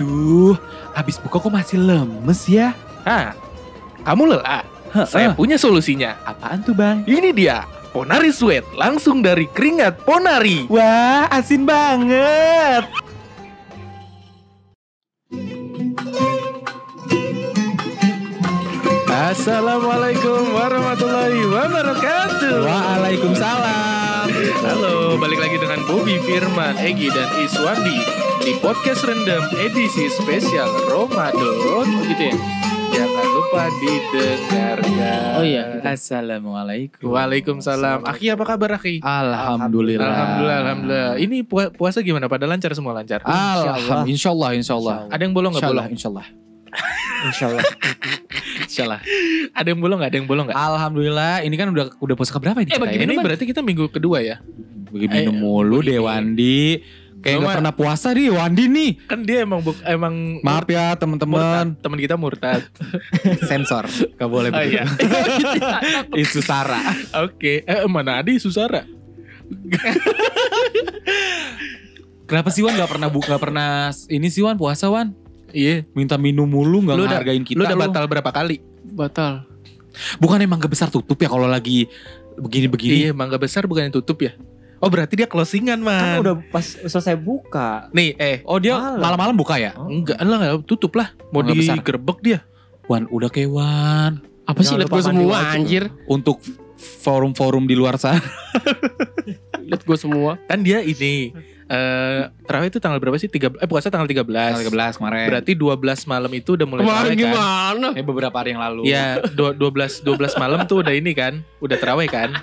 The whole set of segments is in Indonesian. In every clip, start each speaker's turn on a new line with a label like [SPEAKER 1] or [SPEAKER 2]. [SPEAKER 1] Aduh, abis buka kok masih lemes ya?
[SPEAKER 2] Hah, kamu lelah?
[SPEAKER 3] ah.
[SPEAKER 2] Saya punya solusinya.
[SPEAKER 1] Apaan tuh bang?
[SPEAKER 2] Ini dia, Ponari Sweat langsung dari keringat Ponari.
[SPEAKER 1] Wah, asin banget.
[SPEAKER 2] Assalamualaikum warahmatullahi wabarakatuh.
[SPEAKER 1] Waalaikumsalam.
[SPEAKER 2] Halo, balik lagi dengan Bobby Firman, Egi dan Iswandi di podcast rendam edisi spesial Ramadan gitu ya. Jangan lupa didengarkan.
[SPEAKER 3] Oh iya.
[SPEAKER 1] Assalamualaikum.
[SPEAKER 2] Waalaikumsalam. Aki apa kabar Aki?
[SPEAKER 1] Alhamdulillah.
[SPEAKER 2] Alhamdulillah, alhamdulillah. Ini pua- puasa gimana? Pada lancar semua lancar.
[SPEAKER 1] Alhamdulillah. Insyaallah, insyaallah.
[SPEAKER 2] Ada yang bolong nggak bolong?
[SPEAKER 1] insyaallah.
[SPEAKER 3] Insyaallah.
[SPEAKER 1] Insyaallah.
[SPEAKER 2] Ada yang bolong nggak? Ada yang bolong nggak?
[SPEAKER 1] Alhamdulillah, ini kan udah udah puasa keberapa ini?
[SPEAKER 2] Eh
[SPEAKER 1] kita ya?
[SPEAKER 2] begini Ah, ini berarti kita minggu kedua ya?
[SPEAKER 1] Bagi minum
[SPEAKER 2] Eh,
[SPEAKER 1] mulu
[SPEAKER 2] begini.
[SPEAKER 1] deh Wandi. Kayak
[SPEAKER 2] Cuma-
[SPEAKER 1] nggak pernah puasa deh Wandi nih.
[SPEAKER 2] Kan dia emang buk- emang
[SPEAKER 1] Maaf ya
[SPEAKER 2] murtad.
[SPEAKER 1] teman-teman,
[SPEAKER 2] Teman kita murtad.
[SPEAKER 3] Sensor.
[SPEAKER 1] gak boleh
[SPEAKER 2] Oh, iya.
[SPEAKER 1] begitu. Isu Sara.
[SPEAKER 2] Oke. Eh mana Adi Susara?
[SPEAKER 1] Kenapa sih Wan gak pernah buka pernah ini sih Wan puasa Wan?
[SPEAKER 2] Iya.
[SPEAKER 1] Minta minum mulu gak
[SPEAKER 2] Lu udah-
[SPEAKER 1] ngehargain kita
[SPEAKER 2] Lu udah
[SPEAKER 1] lu.
[SPEAKER 2] batal berapa kali? Batal.
[SPEAKER 1] Bukan emang gak besar tutup ya kalau lagi begini-begini.
[SPEAKER 2] Iya, mangga besar bukannya tutup ya? Oh berarti dia closingan
[SPEAKER 3] Kan
[SPEAKER 2] man.
[SPEAKER 3] udah pas selesai buka.
[SPEAKER 2] Nih eh
[SPEAKER 1] Oh dia
[SPEAKER 3] Malam.
[SPEAKER 1] malam-malam buka ya?
[SPEAKER 2] Oh, enggak lah enggak, tutup lah. Mau
[SPEAKER 1] Mangga besar.
[SPEAKER 2] digerebek dia.
[SPEAKER 1] Wan udah kayak Wan.
[SPEAKER 2] Apa
[SPEAKER 3] sih, liat gua semua, anjir?
[SPEAKER 1] Untuk f- forum-forum di luar sana.
[SPEAKER 2] Lihat gue semua. Kan dia ini eh terawih itu tanggal berapa sih? Tiga, eh puasa tanggal 13.
[SPEAKER 1] Tanggal 13 kemarin.
[SPEAKER 2] Berarti 12 malam itu udah mulai terawih kan?
[SPEAKER 3] gimana?
[SPEAKER 1] Eh, beberapa hari yang lalu.
[SPEAKER 2] Iya, dua- 12 12 malam tuh udah ini kan, udah terawih kan?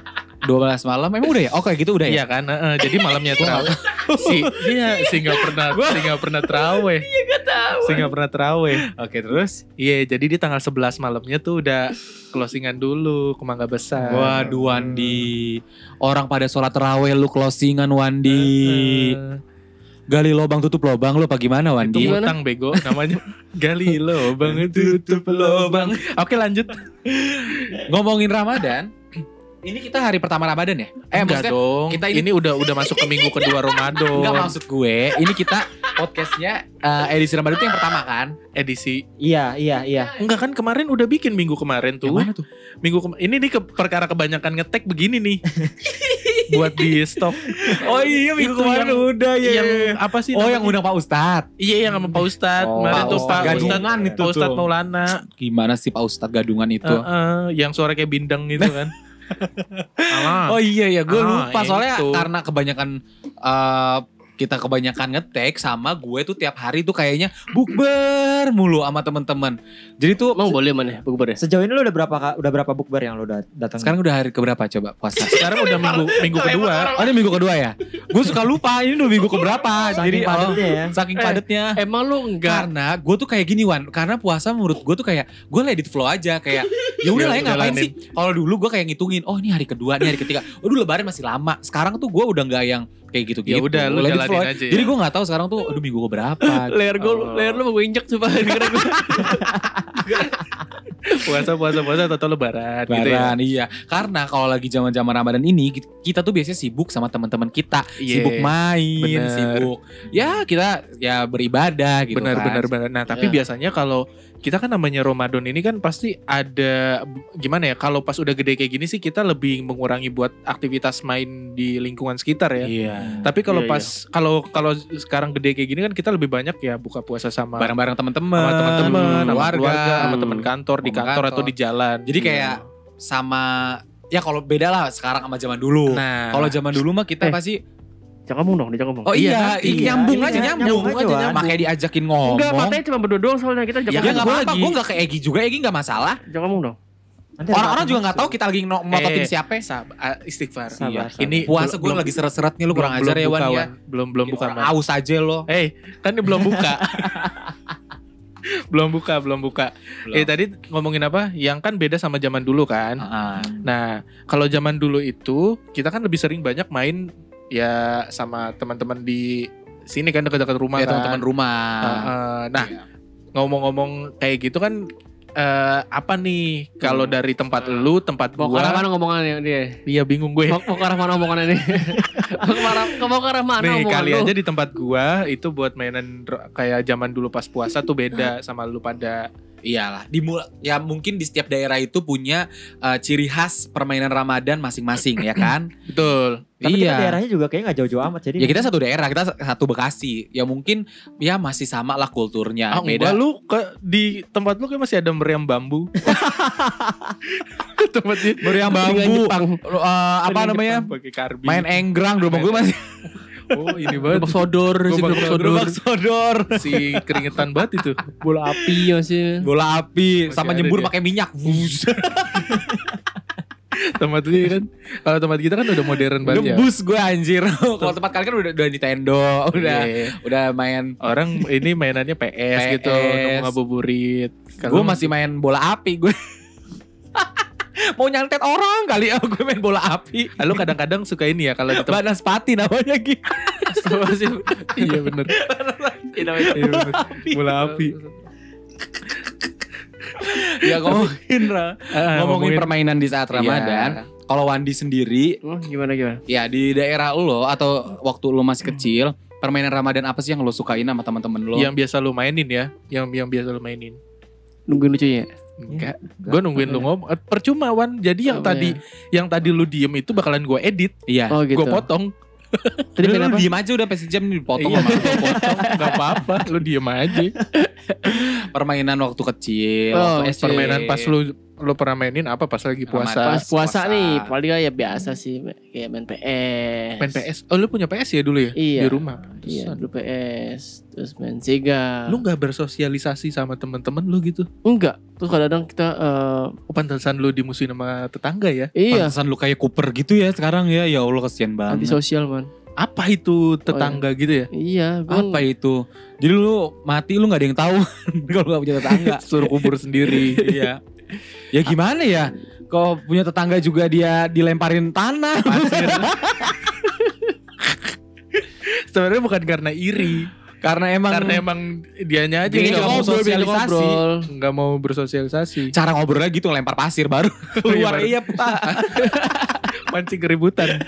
[SPEAKER 1] 12 malam emang udah ya? Oh kayak gitu udah ya?
[SPEAKER 2] Iya kan? eh, eh, jadi malamnya terawih. si dia si nggak pernah si nggak pernah terawih. Iya tahu. Si nggak pernah terawih.
[SPEAKER 1] Oke terus?
[SPEAKER 2] Iya, jadi di tanggal 11 malamnya tuh udah closingan dulu ke Mangga Besar.
[SPEAKER 1] Eh, Waduh Wandi. Orang pada sholat terawih lu closingan Wandi.
[SPEAKER 2] Eh,
[SPEAKER 1] Gali lobang tutup lobang lu apa gimana
[SPEAKER 2] itu
[SPEAKER 1] Wandi?
[SPEAKER 2] utang bego namanya gali lobang tutup lobang. Oke, lanjut.
[SPEAKER 1] Ngomongin Ramadan. Ini kita hari pertama Ramadan ya? Eh
[SPEAKER 2] Enggak
[SPEAKER 1] maksudnya
[SPEAKER 2] dong.
[SPEAKER 1] kita
[SPEAKER 2] Kita
[SPEAKER 1] ini-
[SPEAKER 2] ini, udah udah masuk ke minggu kedua Ramadan.
[SPEAKER 1] Enggak maksud gue, ini kita podcastnya eh, edisi Ramadan itu yang pertama kan?
[SPEAKER 2] edisi.
[SPEAKER 3] Iya, iya, iya.
[SPEAKER 2] Enggak kan kemarin udah bikin minggu kemarin tuh.
[SPEAKER 1] Yang mana tuh?
[SPEAKER 2] Minggu kema- ini nih ke perkara kebanyakan ngetek begini nih. buat di stok.
[SPEAKER 1] Oh iya
[SPEAKER 2] minggu kemarin iya,
[SPEAKER 1] udah
[SPEAKER 2] yang apa sih?
[SPEAKER 1] Iya, Oh yang
[SPEAKER 2] namanya?
[SPEAKER 1] undang Pak Ustadz.
[SPEAKER 2] Iya yang sama Pak Ustadz.
[SPEAKER 1] Oh,
[SPEAKER 2] kemarin
[SPEAKER 1] Pak
[SPEAKER 2] tuh Pak
[SPEAKER 1] Ustadz Gadungan
[SPEAKER 2] Ustadz,
[SPEAKER 1] itu
[SPEAKER 2] Pak Ustadz
[SPEAKER 1] tuh.
[SPEAKER 2] Maulana.
[SPEAKER 1] Gimana sih Pak Ustadz gadungan itu?
[SPEAKER 2] Heeh, yang suara kayak bindeng gitu kan. Alah.
[SPEAKER 1] Oh iya ya, gue
[SPEAKER 2] Ah,
[SPEAKER 1] lupa
[SPEAKER 2] yang
[SPEAKER 1] soalnya
[SPEAKER 2] itu.
[SPEAKER 1] karena kebanyakan eh, kita kebanyakan ngetek sama gue tuh tiap hari tuh kayaknya bukber mulu sama temen-temen. Jadi tuh
[SPEAKER 4] Emang boleh mana bukber ya?
[SPEAKER 3] Sejauh ini lu udah berapa ka- udah berapa bukber yang lu dat- datang?
[SPEAKER 1] sekarang udah hari keberapa coba puasa?
[SPEAKER 2] Sekarang udah minggu minggu kedua.
[SPEAKER 1] Oh ini minggu kedua ya? Gue suka lupa ini udah minggu keberapa. Jadi
[SPEAKER 3] Saking padatnya ya.
[SPEAKER 1] oh, saking
[SPEAKER 4] Eh,
[SPEAKER 1] padatnya.
[SPEAKER 4] Emang lu enggak
[SPEAKER 1] Karena gue tuh kayak gini Wan, karena puasa menurut gue tuh kayak gue let it flow aja kayak ya udah lah ya
[SPEAKER 2] Udah
[SPEAKER 1] ngapain
[SPEAKER 2] Iya, jalanin.
[SPEAKER 1] sih. Kalau dulu gue kayak ngitungin, oh ini hari kedua, ini hari ketiga. Aduh lebaran masih lama. Sekarang tuh gue udah nggak yang kayak gitu-gitu.
[SPEAKER 2] Ya udah, lu
[SPEAKER 1] Let it
[SPEAKER 2] jalanin
[SPEAKER 1] flow
[SPEAKER 2] aja ya.
[SPEAKER 1] Jadi gue nggak tahu sekarang tuh aduh minggu gue berapa.
[SPEAKER 4] layar gue
[SPEAKER 2] Oh.
[SPEAKER 4] layar lu mau gue injek coba dengerin gue.
[SPEAKER 2] Puasa puasa puasa atau lebaran, gitu ya.
[SPEAKER 1] Lebaran, iya. Karena kalau lagi zaman-zaman Ramadan ini kita tuh biasanya sibuk sama teman-teman kita,
[SPEAKER 2] Iya.
[SPEAKER 1] sibuk main,
[SPEAKER 2] Bener.
[SPEAKER 1] sibuk ya kita ya beribadah gitu
[SPEAKER 2] benar
[SPEAKER 1] kan.
[SPEAKER 2] benar benar. Nah, tapi
[SPEAKER 4] Iya.
[SPEAKER 2] biasanya kalau kita kan namanya Ramadan ini kan pasti ada gimana ya? Kalau pas udah gede kayak gini sih kita lebih mengurangi buat aktivitas main di lingkungan sekitar ya.
[SPEAKER 1] Iya.
[SPEAKER 2] Tapi kalau
[SPEAKER 4] Iya,
[SPEAKER 2] pas kalau kalau sekarang gede kayak gini kan kita lebih banyak ya buka puasa sama
[SPEAKER 1] Bareng-bareng teman-teman,
[SPEAKER 2] sama teman-teman, sama
[SPEAKER 1] keluarga,
[SPEAKER 2] keluarga, sama
[SPEAKER 4] Hmm.
[SPEAKER 2] teman kantor di
[SPEAKER 1] Sama
[SPEAKER 2] kantor atau
[SPEAKER 1] kantor. Iya.
[SPEAKER 2] di jalan.
[SPEAKER 1] Jadi kayak sama ya kalau beda lah sekarang sama zaman dulu.
[SPEAKER 2] nah,
[SPEAKER 1] Kalau zaman dulu mah kita
[SPEAKER 4] Eh,
[SPEAKER 1] pasti
[SPEAKER 4] Jangan ngomong dong, jangan ngomong.
[SPEAKER 1] oh iya,
[SPEAKER 3] iya,
[SPEAKER 1] nyambung
[SPEAKER 3] iya,
[SPEAKER 1] aja
[SPEAKER 3] nyambung
[SPEAKER 1] nyambung,
[SPEAKER 3] aja,
[SPEAKER 1] aja
[SPEAKER 3] Wan.
[SPEAKER 1] nyambung. Makanya diajakin ngomong.
[SPEAKER 4] Enggak, matanya cuma berdua doang soalnya kita
[SPEAKER 1] Ya kan
[SPEAKER 4] jangan ngomong.
[SPEAKER 1] gak
[SPEAKER 2] gua
[SPEAKER 1] apa-apa,
[SPEAKER 2] lagi.
[SPEAKER 1] gue gak ke Egi juga, Egi gak masalah.
[SPEAKER 4] Jangan ngomong dong.
[SPEAKER 3] Nanti
[SPEAKER 1] Orang-orang
[SPEAKER 3] datang.
[SPEAKER 1] juga gak tahu kita lagi no- ngototin
[SPEAKER 2] Eh,
[SPEAKER 1] siapa. ya,
[SPEAKER 2] sab- ah, istighfar.
[SPEAKER 3] Sabar,
[SPEAKER 1] Iya.
[SPEAKER 3] sabar.
[SPEAKER 2] Ini
[SPEAKER 1] Puasa gue
[SPEAKER 2] belum-
[SPEAKER 1] lagi seret-seret nih, lu
[SPEAKER 2] belum-
[SPEAKER 1] kurang ajar
[SPEAKER 2] belum
[SPEAKER 1] ya Wan
[SPEAKER 2] buka,
[SPEAKER 1] ya.
[SPEAKER 2] Belum belum
[SPEAKER 1] Bikin
[SPEAKER 2] buka.
[SPEAKER 1] orang
[SPEAKER 2] Man.
[SPEAKER 1] Aus aja lo.
[SPEAKER 2] Eh, kan ini belum buka. belum buka, belum buka. Eh tadi ngomongin apa? Yang kan beda sama zaman dulu kan.
[SPEAKER 1] Heeh.
[SPEAKER 4] Hmm.
[SPEAKER 2] Nah, kalau zaman dulu itu kita kan lebih sering banyak main ya sama teman-teman di sini
[SPEAKER 4] Iya,
[SPEAKER 2] kan dekat-dekat rumah
[SPEAKER 1] Ya
[SPEAKER 2] kan.
[SPEAKER 1] teman-teman rumah.
[SPEAKER 2] Heeh. nah,
[SPEAKER 1] Iya.
[SPEAKER 2] ngomong-ngomong kayak gitu kan eh, apa nih kalau dari tempat lu, tempat
[SPEAKER 4] Hmm. Mau ke arah
[SPEAKER 2] gua?
[SPEAKER 4] mana ngomongannya dia?
[SPEAKER 2] Iya bingung gue.
[SPEAKER 4] Mau mau ke arah mana omongannya nih? Mau ke arah- mau ke arah mana
[SPEAKER 2] Nih
[SPEAKER 4] omongan
[SPEAKER 2] kali
[SPEAKER 4] lu?
[SPEAKER 2] aja di tempat gua itu buat mainan dro- kayak zaman dulu pas puasa tuh beda sama lu pada
[SPEAKER 1] Iyalah, di mul- ya mungkin di setiap daerah itu punya eh, ciri khas permainan Ramadan masing-masing ya kan?
[SPEAKER 2] betul.
[SPEAKER 3] Tapi kita
[SPEAKER 1] iya.
[SPEAKER 3] daerahnya juga kayaknya gak jauh-jauh amat. Jadi
[SPEAKER 1] Ya kita satu daerah, kita satu Bekasi. Ya mungkin ya masih sama lah kulturnya.
[SPEAKER 2] Ah,
[SPEAKER 1] beda.
[SPEAKER 2] enggak, lu ke- di tempat lu kayak masih ada meriam bambu. tempat di
[SPEAKER 1] Meriam
[SPEAKER 4] Dengan
[SPEAKER 1] bambu.
[SPEAKER 4] Jepang.
[SPEAKER 1] Lu, eh, apa
[SPEAKER 2] Jepang
[SPEAKER 1] namanya?
[SPEAKER 2] pakai karbi.
[SPEAKER 1] Main e- enggrang dulu gue masih
[SPEAKER 2] oh ini banget
[SPEAKER 4] Gerobak sodor, si gerobak sodor.
[SPEAKER 1] gerobak sodor,
[SPEAKER 2] si keringetan banget itu.
[SPEAKER 4] Bola api ya sih.
[SPEAKER 1] bola api,
[SPEAKER 2] Masih
[SPEAKER 1] sama
[SPEAKER 2] ada
[SPEAKER 1] nyembur
[SPEAKER 2] dia.
[SPEAKER 1] pakai minyak. Wush.
[SPEAKER 2] tempat lu kan. Kalau tempat kita kan udah modern banget ya.
[SPEAKER 1] Ngebus gue anjir. Kalau tempat kalian kan udah, udah Nintendo, udah
[SPEAKER 2] Iya.
[SPEAKER 1] udah main.
[SPEAKER 2] Orang ini mainannya PS, gitu,
[SPEAKER 1] PS.
[SPEAKER 2] nemu ngabuburit.
[SPEAKER 1] Gue masih main bola api gue. Mau nyantet orang kali ya gue main bola api.
[SPEAKER 2] Ah, lu kadang-kadang suka ini ya kalau di tempat
[SPEAKER 1] Banaspati namanya gitu.
[SPEAKER 2] Sama sih. Iya bener. Iya, bener. Bola api.
[SPEAKER 1] ya ngomongin Ra.
[SPEAKER 2] Ah,
[SPEAKER 1] Eh, ngomongin permainan di saat
[SPEAKER 2] Iya.
[SPEAKER 1] Ramadan. Kalau Wandi sendiri,
[SPEAKER 4] Hmm, gimana gimana?
[SPEAKER 1] ya di daerah lo atau waktu lo masih kecil, permainan Ramadan apa sih yang lo sukain sama teman-teman lo?
[SPEAKER 2] yang biasa lu mainin ya, yang yang biasa lu mainin.
[SPEAKER 4] Nungguin lucunya.
[SPEAKER 2] Enggak, gue nungguin lu ngomong. Eh, Percuma Wan. Jadi yang
[SPEAKER 4] Iya, Oh,
[SPEAKER 2] tadi, yang tadi lu diem itu bakalan gue edit,
[SPEAKER 1] Iya.
[SPEAKER 4] Oh gitu.
[SPEAKER 2] gue potong.
[SPEAKER 4] Tadi
[SPEAKER 1] Lu-
[SPEAKER 4] main
[SPEAKER 1] lu
[SPEAKER 4] apa?
[SPEAKER 1] diem aja udah pasti jam dipotong
[SPEAKER 2] Iya.
[SPEAKER 1] sama lo.
[SPEAKER 2] potong, gak apa-apa. Lu diem aja.
[SPEAKER 1] permainan waktu kecil,
[SPEAKER 4] Oh,
[SPEAKER 1] waktu
[SPEAKER 4] kecil.
[SPEAKER 2] Permainan pas lu lu pernah mainin apa pas lagi puasa?
[SPEAKER 4] Pas puasa,
[SPEAKER 1] puasa.
[SPEAKER 4] nih, paling ya biasa sih kayak main PS.
[SPEAKER 2] Main PS. Oh lu punya PS ya dulu ya?
[SPEAKER 4] Iya.
[SPEAKER 2] Di rumah.
[SPEAKER 4] Iya,
[SPEAKER 2] Pantesan.
[SPEAKER 4] dulu PS, terus main Sega.
[SPEAKER 2] Lu gak bersosialisasi sama temen-temen lu gitu?
[SPEAKER 4] enggak? Terus kadang-kadang kita eh,
[SPEAKER 2] Oh, pantesan lu dimusuhin sama tetangga ya?
[SPEAKER 4] iya,
[SPEAKER 1] Pantesan lu kayak Cooper gitu ya sekarang ya. Ya Allah kasihan banget.
[SPEAKER 4] antisosial man.
[SPEAKER 2] Apa
[SPEAKER 4] Oh,
[SPEAKER 2] itu tetangga gitu ya?
[SPEAKER 4] Iya,
[SPEAKER 1] Apa
[SPEAKER 4] gua
[SPEAKER 1] itu? Jadi lu mati lu nggak ada yang tahu kalau nggak punya tetangga.
[SPEAKER 2] Suruh kubur sendiri.
[SPEAKER 1] iya. Ya gimana ya? Kalau punya tetangga juga dia dilemparin tanah.
[SPEAKER 2] Pasir. Sebenarnya bukan karena iri,
[SPEAKER 1] karena emang
[SPEAKER 2] karena emang dianya aja
[SPEAKER 1] Dia nggak
[SPEAKER 2] yang nggak mau
[SPEAKER 1] mau
[SPEAKER 2] sosialisasi,
[SPEAKER 1] sosialisasi.
[SPEAKER 4] ngobrol.
[SPEAKER 2] nggak mau bersosialisasi,
[SPEAKER 1] cara ngobrolnya gitu lempar pasir baru keluar. iya,
[SPEAKER 2] Iya,
[SPEAKER 1] Pak.
[SPEAKER 2] mancing keributan.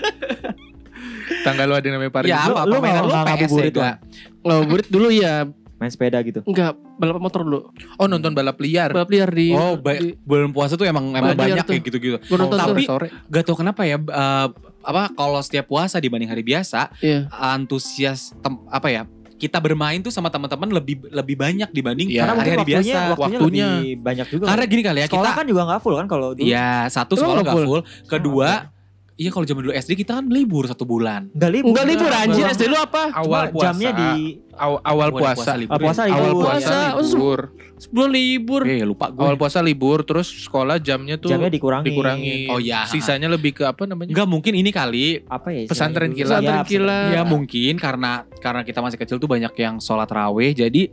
[SPEAKER 2] Tanggal lu ada yang namanya Paris.
[SPEAKER 1] Ya
[SPEAKER 3] Lu-
[SPEAKER 1] apa
[SPEAKER 3] lu
[SPEAKER 1] permainan
[SPEAKER 3] nggak-
[SPEAKER 1] lu
[SPEAKER 3] nggak
[SPEAKER 1] PS
[SPEAKER 3] ngabuburit,
[SPEAKER 1] ya?
[SPEAKER 3] Wan?
[SPEAKER 4] Kalau burit dulu ya,
[SPEAKER 3] main sepeda gitu.
[SPEAKER 4] enggak balap motor dulu.
[SPEAKER 2] Oh nonton balap liar.
[SPEAKER 4] Balap liar di
[SPEAKER 1] Oh, ba-
[SPEAKER 4] di-
[SPEAKER 1] bulan puasa tuh emang emang
[SPEAKER 4] Belajar
[SPEAKER 1] banyak
[SPEAKER 4] Iya. tuh.
[SPEAKER 1] kayak gitu-gitu.
[SPEAKER 4] gua nonton tuh.
[SPEAKER 1] tapi-
[SPEAKER 2] sore.
[SPEAKER 1] Gak tau kenapa ya eh, apa kalau setiap puasa dibanding hari biasa
[SPEAKER 4] Iya.
[SPEAKER 1] antusias tem- apa ya kita bermain tuh sama teman-teman lebih lebih banyak dibanding
[SPEAKER 2] Iya.
[SPEAKER 1] karena
[SPEAKER 3] Karena mungkin
[SPEAKER 1] hari-hari biasa.
[SPEAKER 3] waktunya, waktunya,
[SPEAKER 2] waktunya.
[SPEAKER 3] lebih banyak juga.
[SPEAKER 1] Karena gini kali ya
[SPEAKER 3] sekolah
[SPEAKER 1] kita
[SPEAKER 3] kan juga gak full kan kalau dulu.
[SPEAKER 1] ya satu
[SPEAKER 4] Emang
[SPEAKER 1] sekolah
[SPEAKER 4] nggak
[SPEAKER 1] gak full, kedua iya kalau zaman dulu SD kita kan libur satu bulan.
[SPEAKER 3] Gak libur.
[SPEAKER 4] Enggak libur anjir
[SPEAKER 3] Cuma
[SPEAKER 4] SD lu apa?
[SPEAKER 2] Awal puasa.
[SPEAKER 3] Jamnya di
[SPEAKER 2] aw- awal
[SPEAKER 1] Bulan
[SPEAKER 2] puasa. iya.
[SPEAKER 1] libur.
[SPEAKER 3] ah, puasa libur.
[SPEAKER 2] Awal
[SPEAKER 4] Puasa,
[SPEAKER 2] puasa
[SPEAKER 4] maksud-
[SPEAKER 2] libur.
[SPEAKER 4] Sebelum libur.
[SPEAKER 1] Eh, lupa gue.
[SPEAKER 2] Awal puasa libur, terus sekolah jamnya tuh
[SPEAKER 3] jamnya dikurangi.
[SPEAKER 2] dikurangi.
[SPEAKER 1] Oh, iya.
[SPEAKER 2] Sisanya lebih ke apa namanya?
[SPEAKER 1] Enggak mungkin ini kali.
[SPEAKER 3] Apa ya? istilahnya
[SPEAKER 2] Pesantren
[SPEAKER 1] Iya,
[SPEAKER 3] dulu?
[SPEAKER 2] kilat. Iya.
[SPEAKER 3] Ya,
[SPEAKER 4] Pesantren kilat.
[SPEAKER 1] Ya mungkin karena karena kita masih kecil tuh banyak yang sholat raweh jadi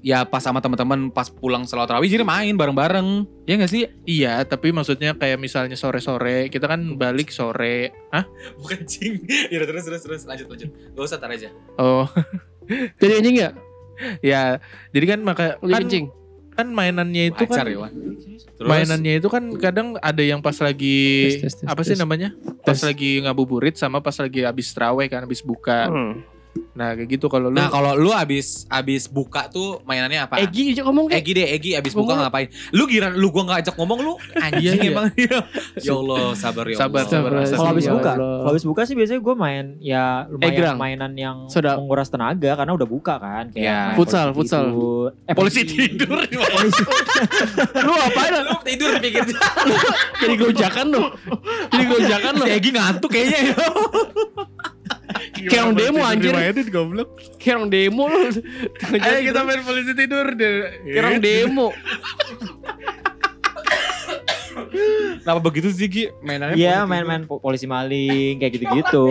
[SPEAKER 1] ya pas sama teman-teman pas pulang sholat raweh jadi main bareng-bareng. Ya gak sih?
[SPEAKER 2] Iya, tapi maksudnya kayak misalnya sore-sore, kita kan balik sore. Hah?
[SPEAKER 1] Bukan cing. Ya terus terus terus lanjut lanjut. Gak usah tar aja.
[SPEAKER 2] Oh,
[SPEAKER 4] Jadi anjing enggak?
[SPEAKER 2] ya. Jadi kan maka
[SPEAKER 4] Lu
[SPEAKER 2] kan,
[SPEAKER 4] kencing.
[SPEAKER 2] kan mainannya itu
[SPEAKER 1] Pacar
[SPEAKER 2] kan
[SPEAKER 1] ya. Wan. Terus?
[SPEAKER 2] mainannya itu kan kadang ada yang pas lagi
[SPEAKER 4] Tes, tes, tes,
[SPEAKER 2] apa sih
[SPEAKER 4] tes.
[SPEAKER 2] namanya? Pas
[SPEAKER 4] Tes.
[SPEAKER 2] lagi ngabuburit sama pas lagi habis terawih kan habis buka.
[SPEAKER 4] Hmm.
[SPEAKER 2] Nah, kayak gitu kalau lu
[SPEAKER 1] Nah kalau lu abis abis buka tuh mainannya apa?
[SPEAKER 4] Egi aja ngomong kayak
[SPEAKER 1] Egi deh, Egi abis
[SPEAKER 4] Ngomong
[SPEAKER 1] buka
[SPEAKER 4] lu.
[SPEAKER 1] ngapain? Lu kira lu gua nggak ajak ngomong lu anjing
[SPEAKER 2] Iya, iya.
[SPEAKER 1] emang ya Allah sabar ya Allah.
[SPEAKER 2] Sabar, sabar, sabar.
[SPEAKER 3] Kalau habis
[SPEAKER 4] Ya
[SPEAKER 3] buka,
[SPEAKER 4] Allah.
[SPEAKER 3] kalau habis buka sih biasanya gue main ya lumayan
[SPEAKER 4] Egrang.
[SPEAKER 3] mainan yang
[SPEAKER 4] Soda.
[SPEAKER 3] menguras tenaga karena udah buka kan. Kayak
[SPEAKER 1] Ya.
[SPEAKER 3] main
[SPEAKER 4] Futsal,
[SPEAKER 3] polisi
[SPEAKER 4] futsal.
[SPEAKER 3] itu. Eh,
[SPEAKER 1] Polisi tidur.
[SPEAKER 3] polisi.
[SPEAKER 4] lu apain?
[SPEAKER 1] lu tidur pikir
[SPEAKER 4] Jadi gerojakan lu. Jadi gerojakan lu.
[SPEAKER 1] si Egi ngantuk kayaknya. ya.
[SPEAKER 4] Kayak orang demo anjir.
[SPEAKER 2] Dimainin goblok.
[SPEAKER 4] Kayak orang demo lu.
[SPEAKER 2] Ayo kita main polisi tidur deh.
[SPEAKER 4] Kayak orang demo.
[SPEAKER 1] Kenapa begitu sih Gi? Mainannya
[SPEAKER 3] Iya main-main po- polisi maling kayak gitu-gitu.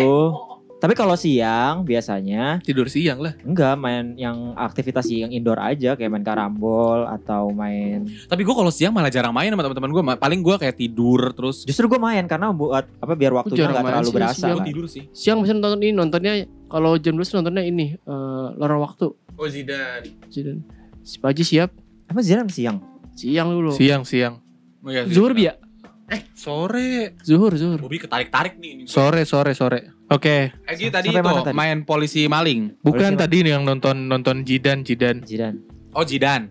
[SPEAKER 3] Tapi kalau siang biasanya
[SPEAKER 2] tidur siang lah.
[SPEAKER 3] enggak main yang aktivitas yang indoor aja kayak main karambol atau main
[SPEAKER 1] Tapi gua kalau siang malah jarang main sama teman-teman gua. Ma- Paling gua kayak tidur terus.
[SPEAKER 3] Justru gue main karena buat apa biar waktunya
[SPEAKER 4] jarang
[SPEAKER 3] nggak
[SPEAKER 4] main
[SPEAKER 3] terlalu
[SPEAKER 4] sih,
[SPEAKER 3] berasa.
[SPEAKER 4] siang
[SPEAKER 1] Gua
[SPEAKER 3] kan.
[SPEAKER 1] tidur sih.
[SPEAKER 4] Siang biasanya nonton ini nontonnya kalau jam 12 nontonnya ini eh lorong waktu.
[SPEAKER 2] Oh Zidane.
[SPEAKER 4] Zidane. Si Paji siap.
[SPEAKER 3] Emang Zidane siang?
[SPEAKER 4] Siang dulu.
[SPEAKER 2] Siang, siang.
[SPEAKER 1] Oh, iya sih,
[SPEAKER 4] Zuhur
[SPEAKER 1] benar.
[SPEAKER 4] Bia?
[SPEAKER 2] Sore.
[SPEAKER 4] Zuhur, Zuhur.
[SPEAKER 1] Bobi ketarik-tarik nih. ini.
[SPEAKER 2] Sore, sore, sore. Oke,
[SPEAKER 1] Eh, Gi, tadi itu
[SPEAKER 3] Sampai mana tadi?
[SPEAKER 1] main polisi maling.
[SPEAKER 2] bukan
[SPEAKER 3] Harusnya-
[SPEAKER 2] tadi nih yang nonton nonton Jidan Jidan
[SPEAKER 3] Jiran.
[SPEAKER 1] Oh Jidan.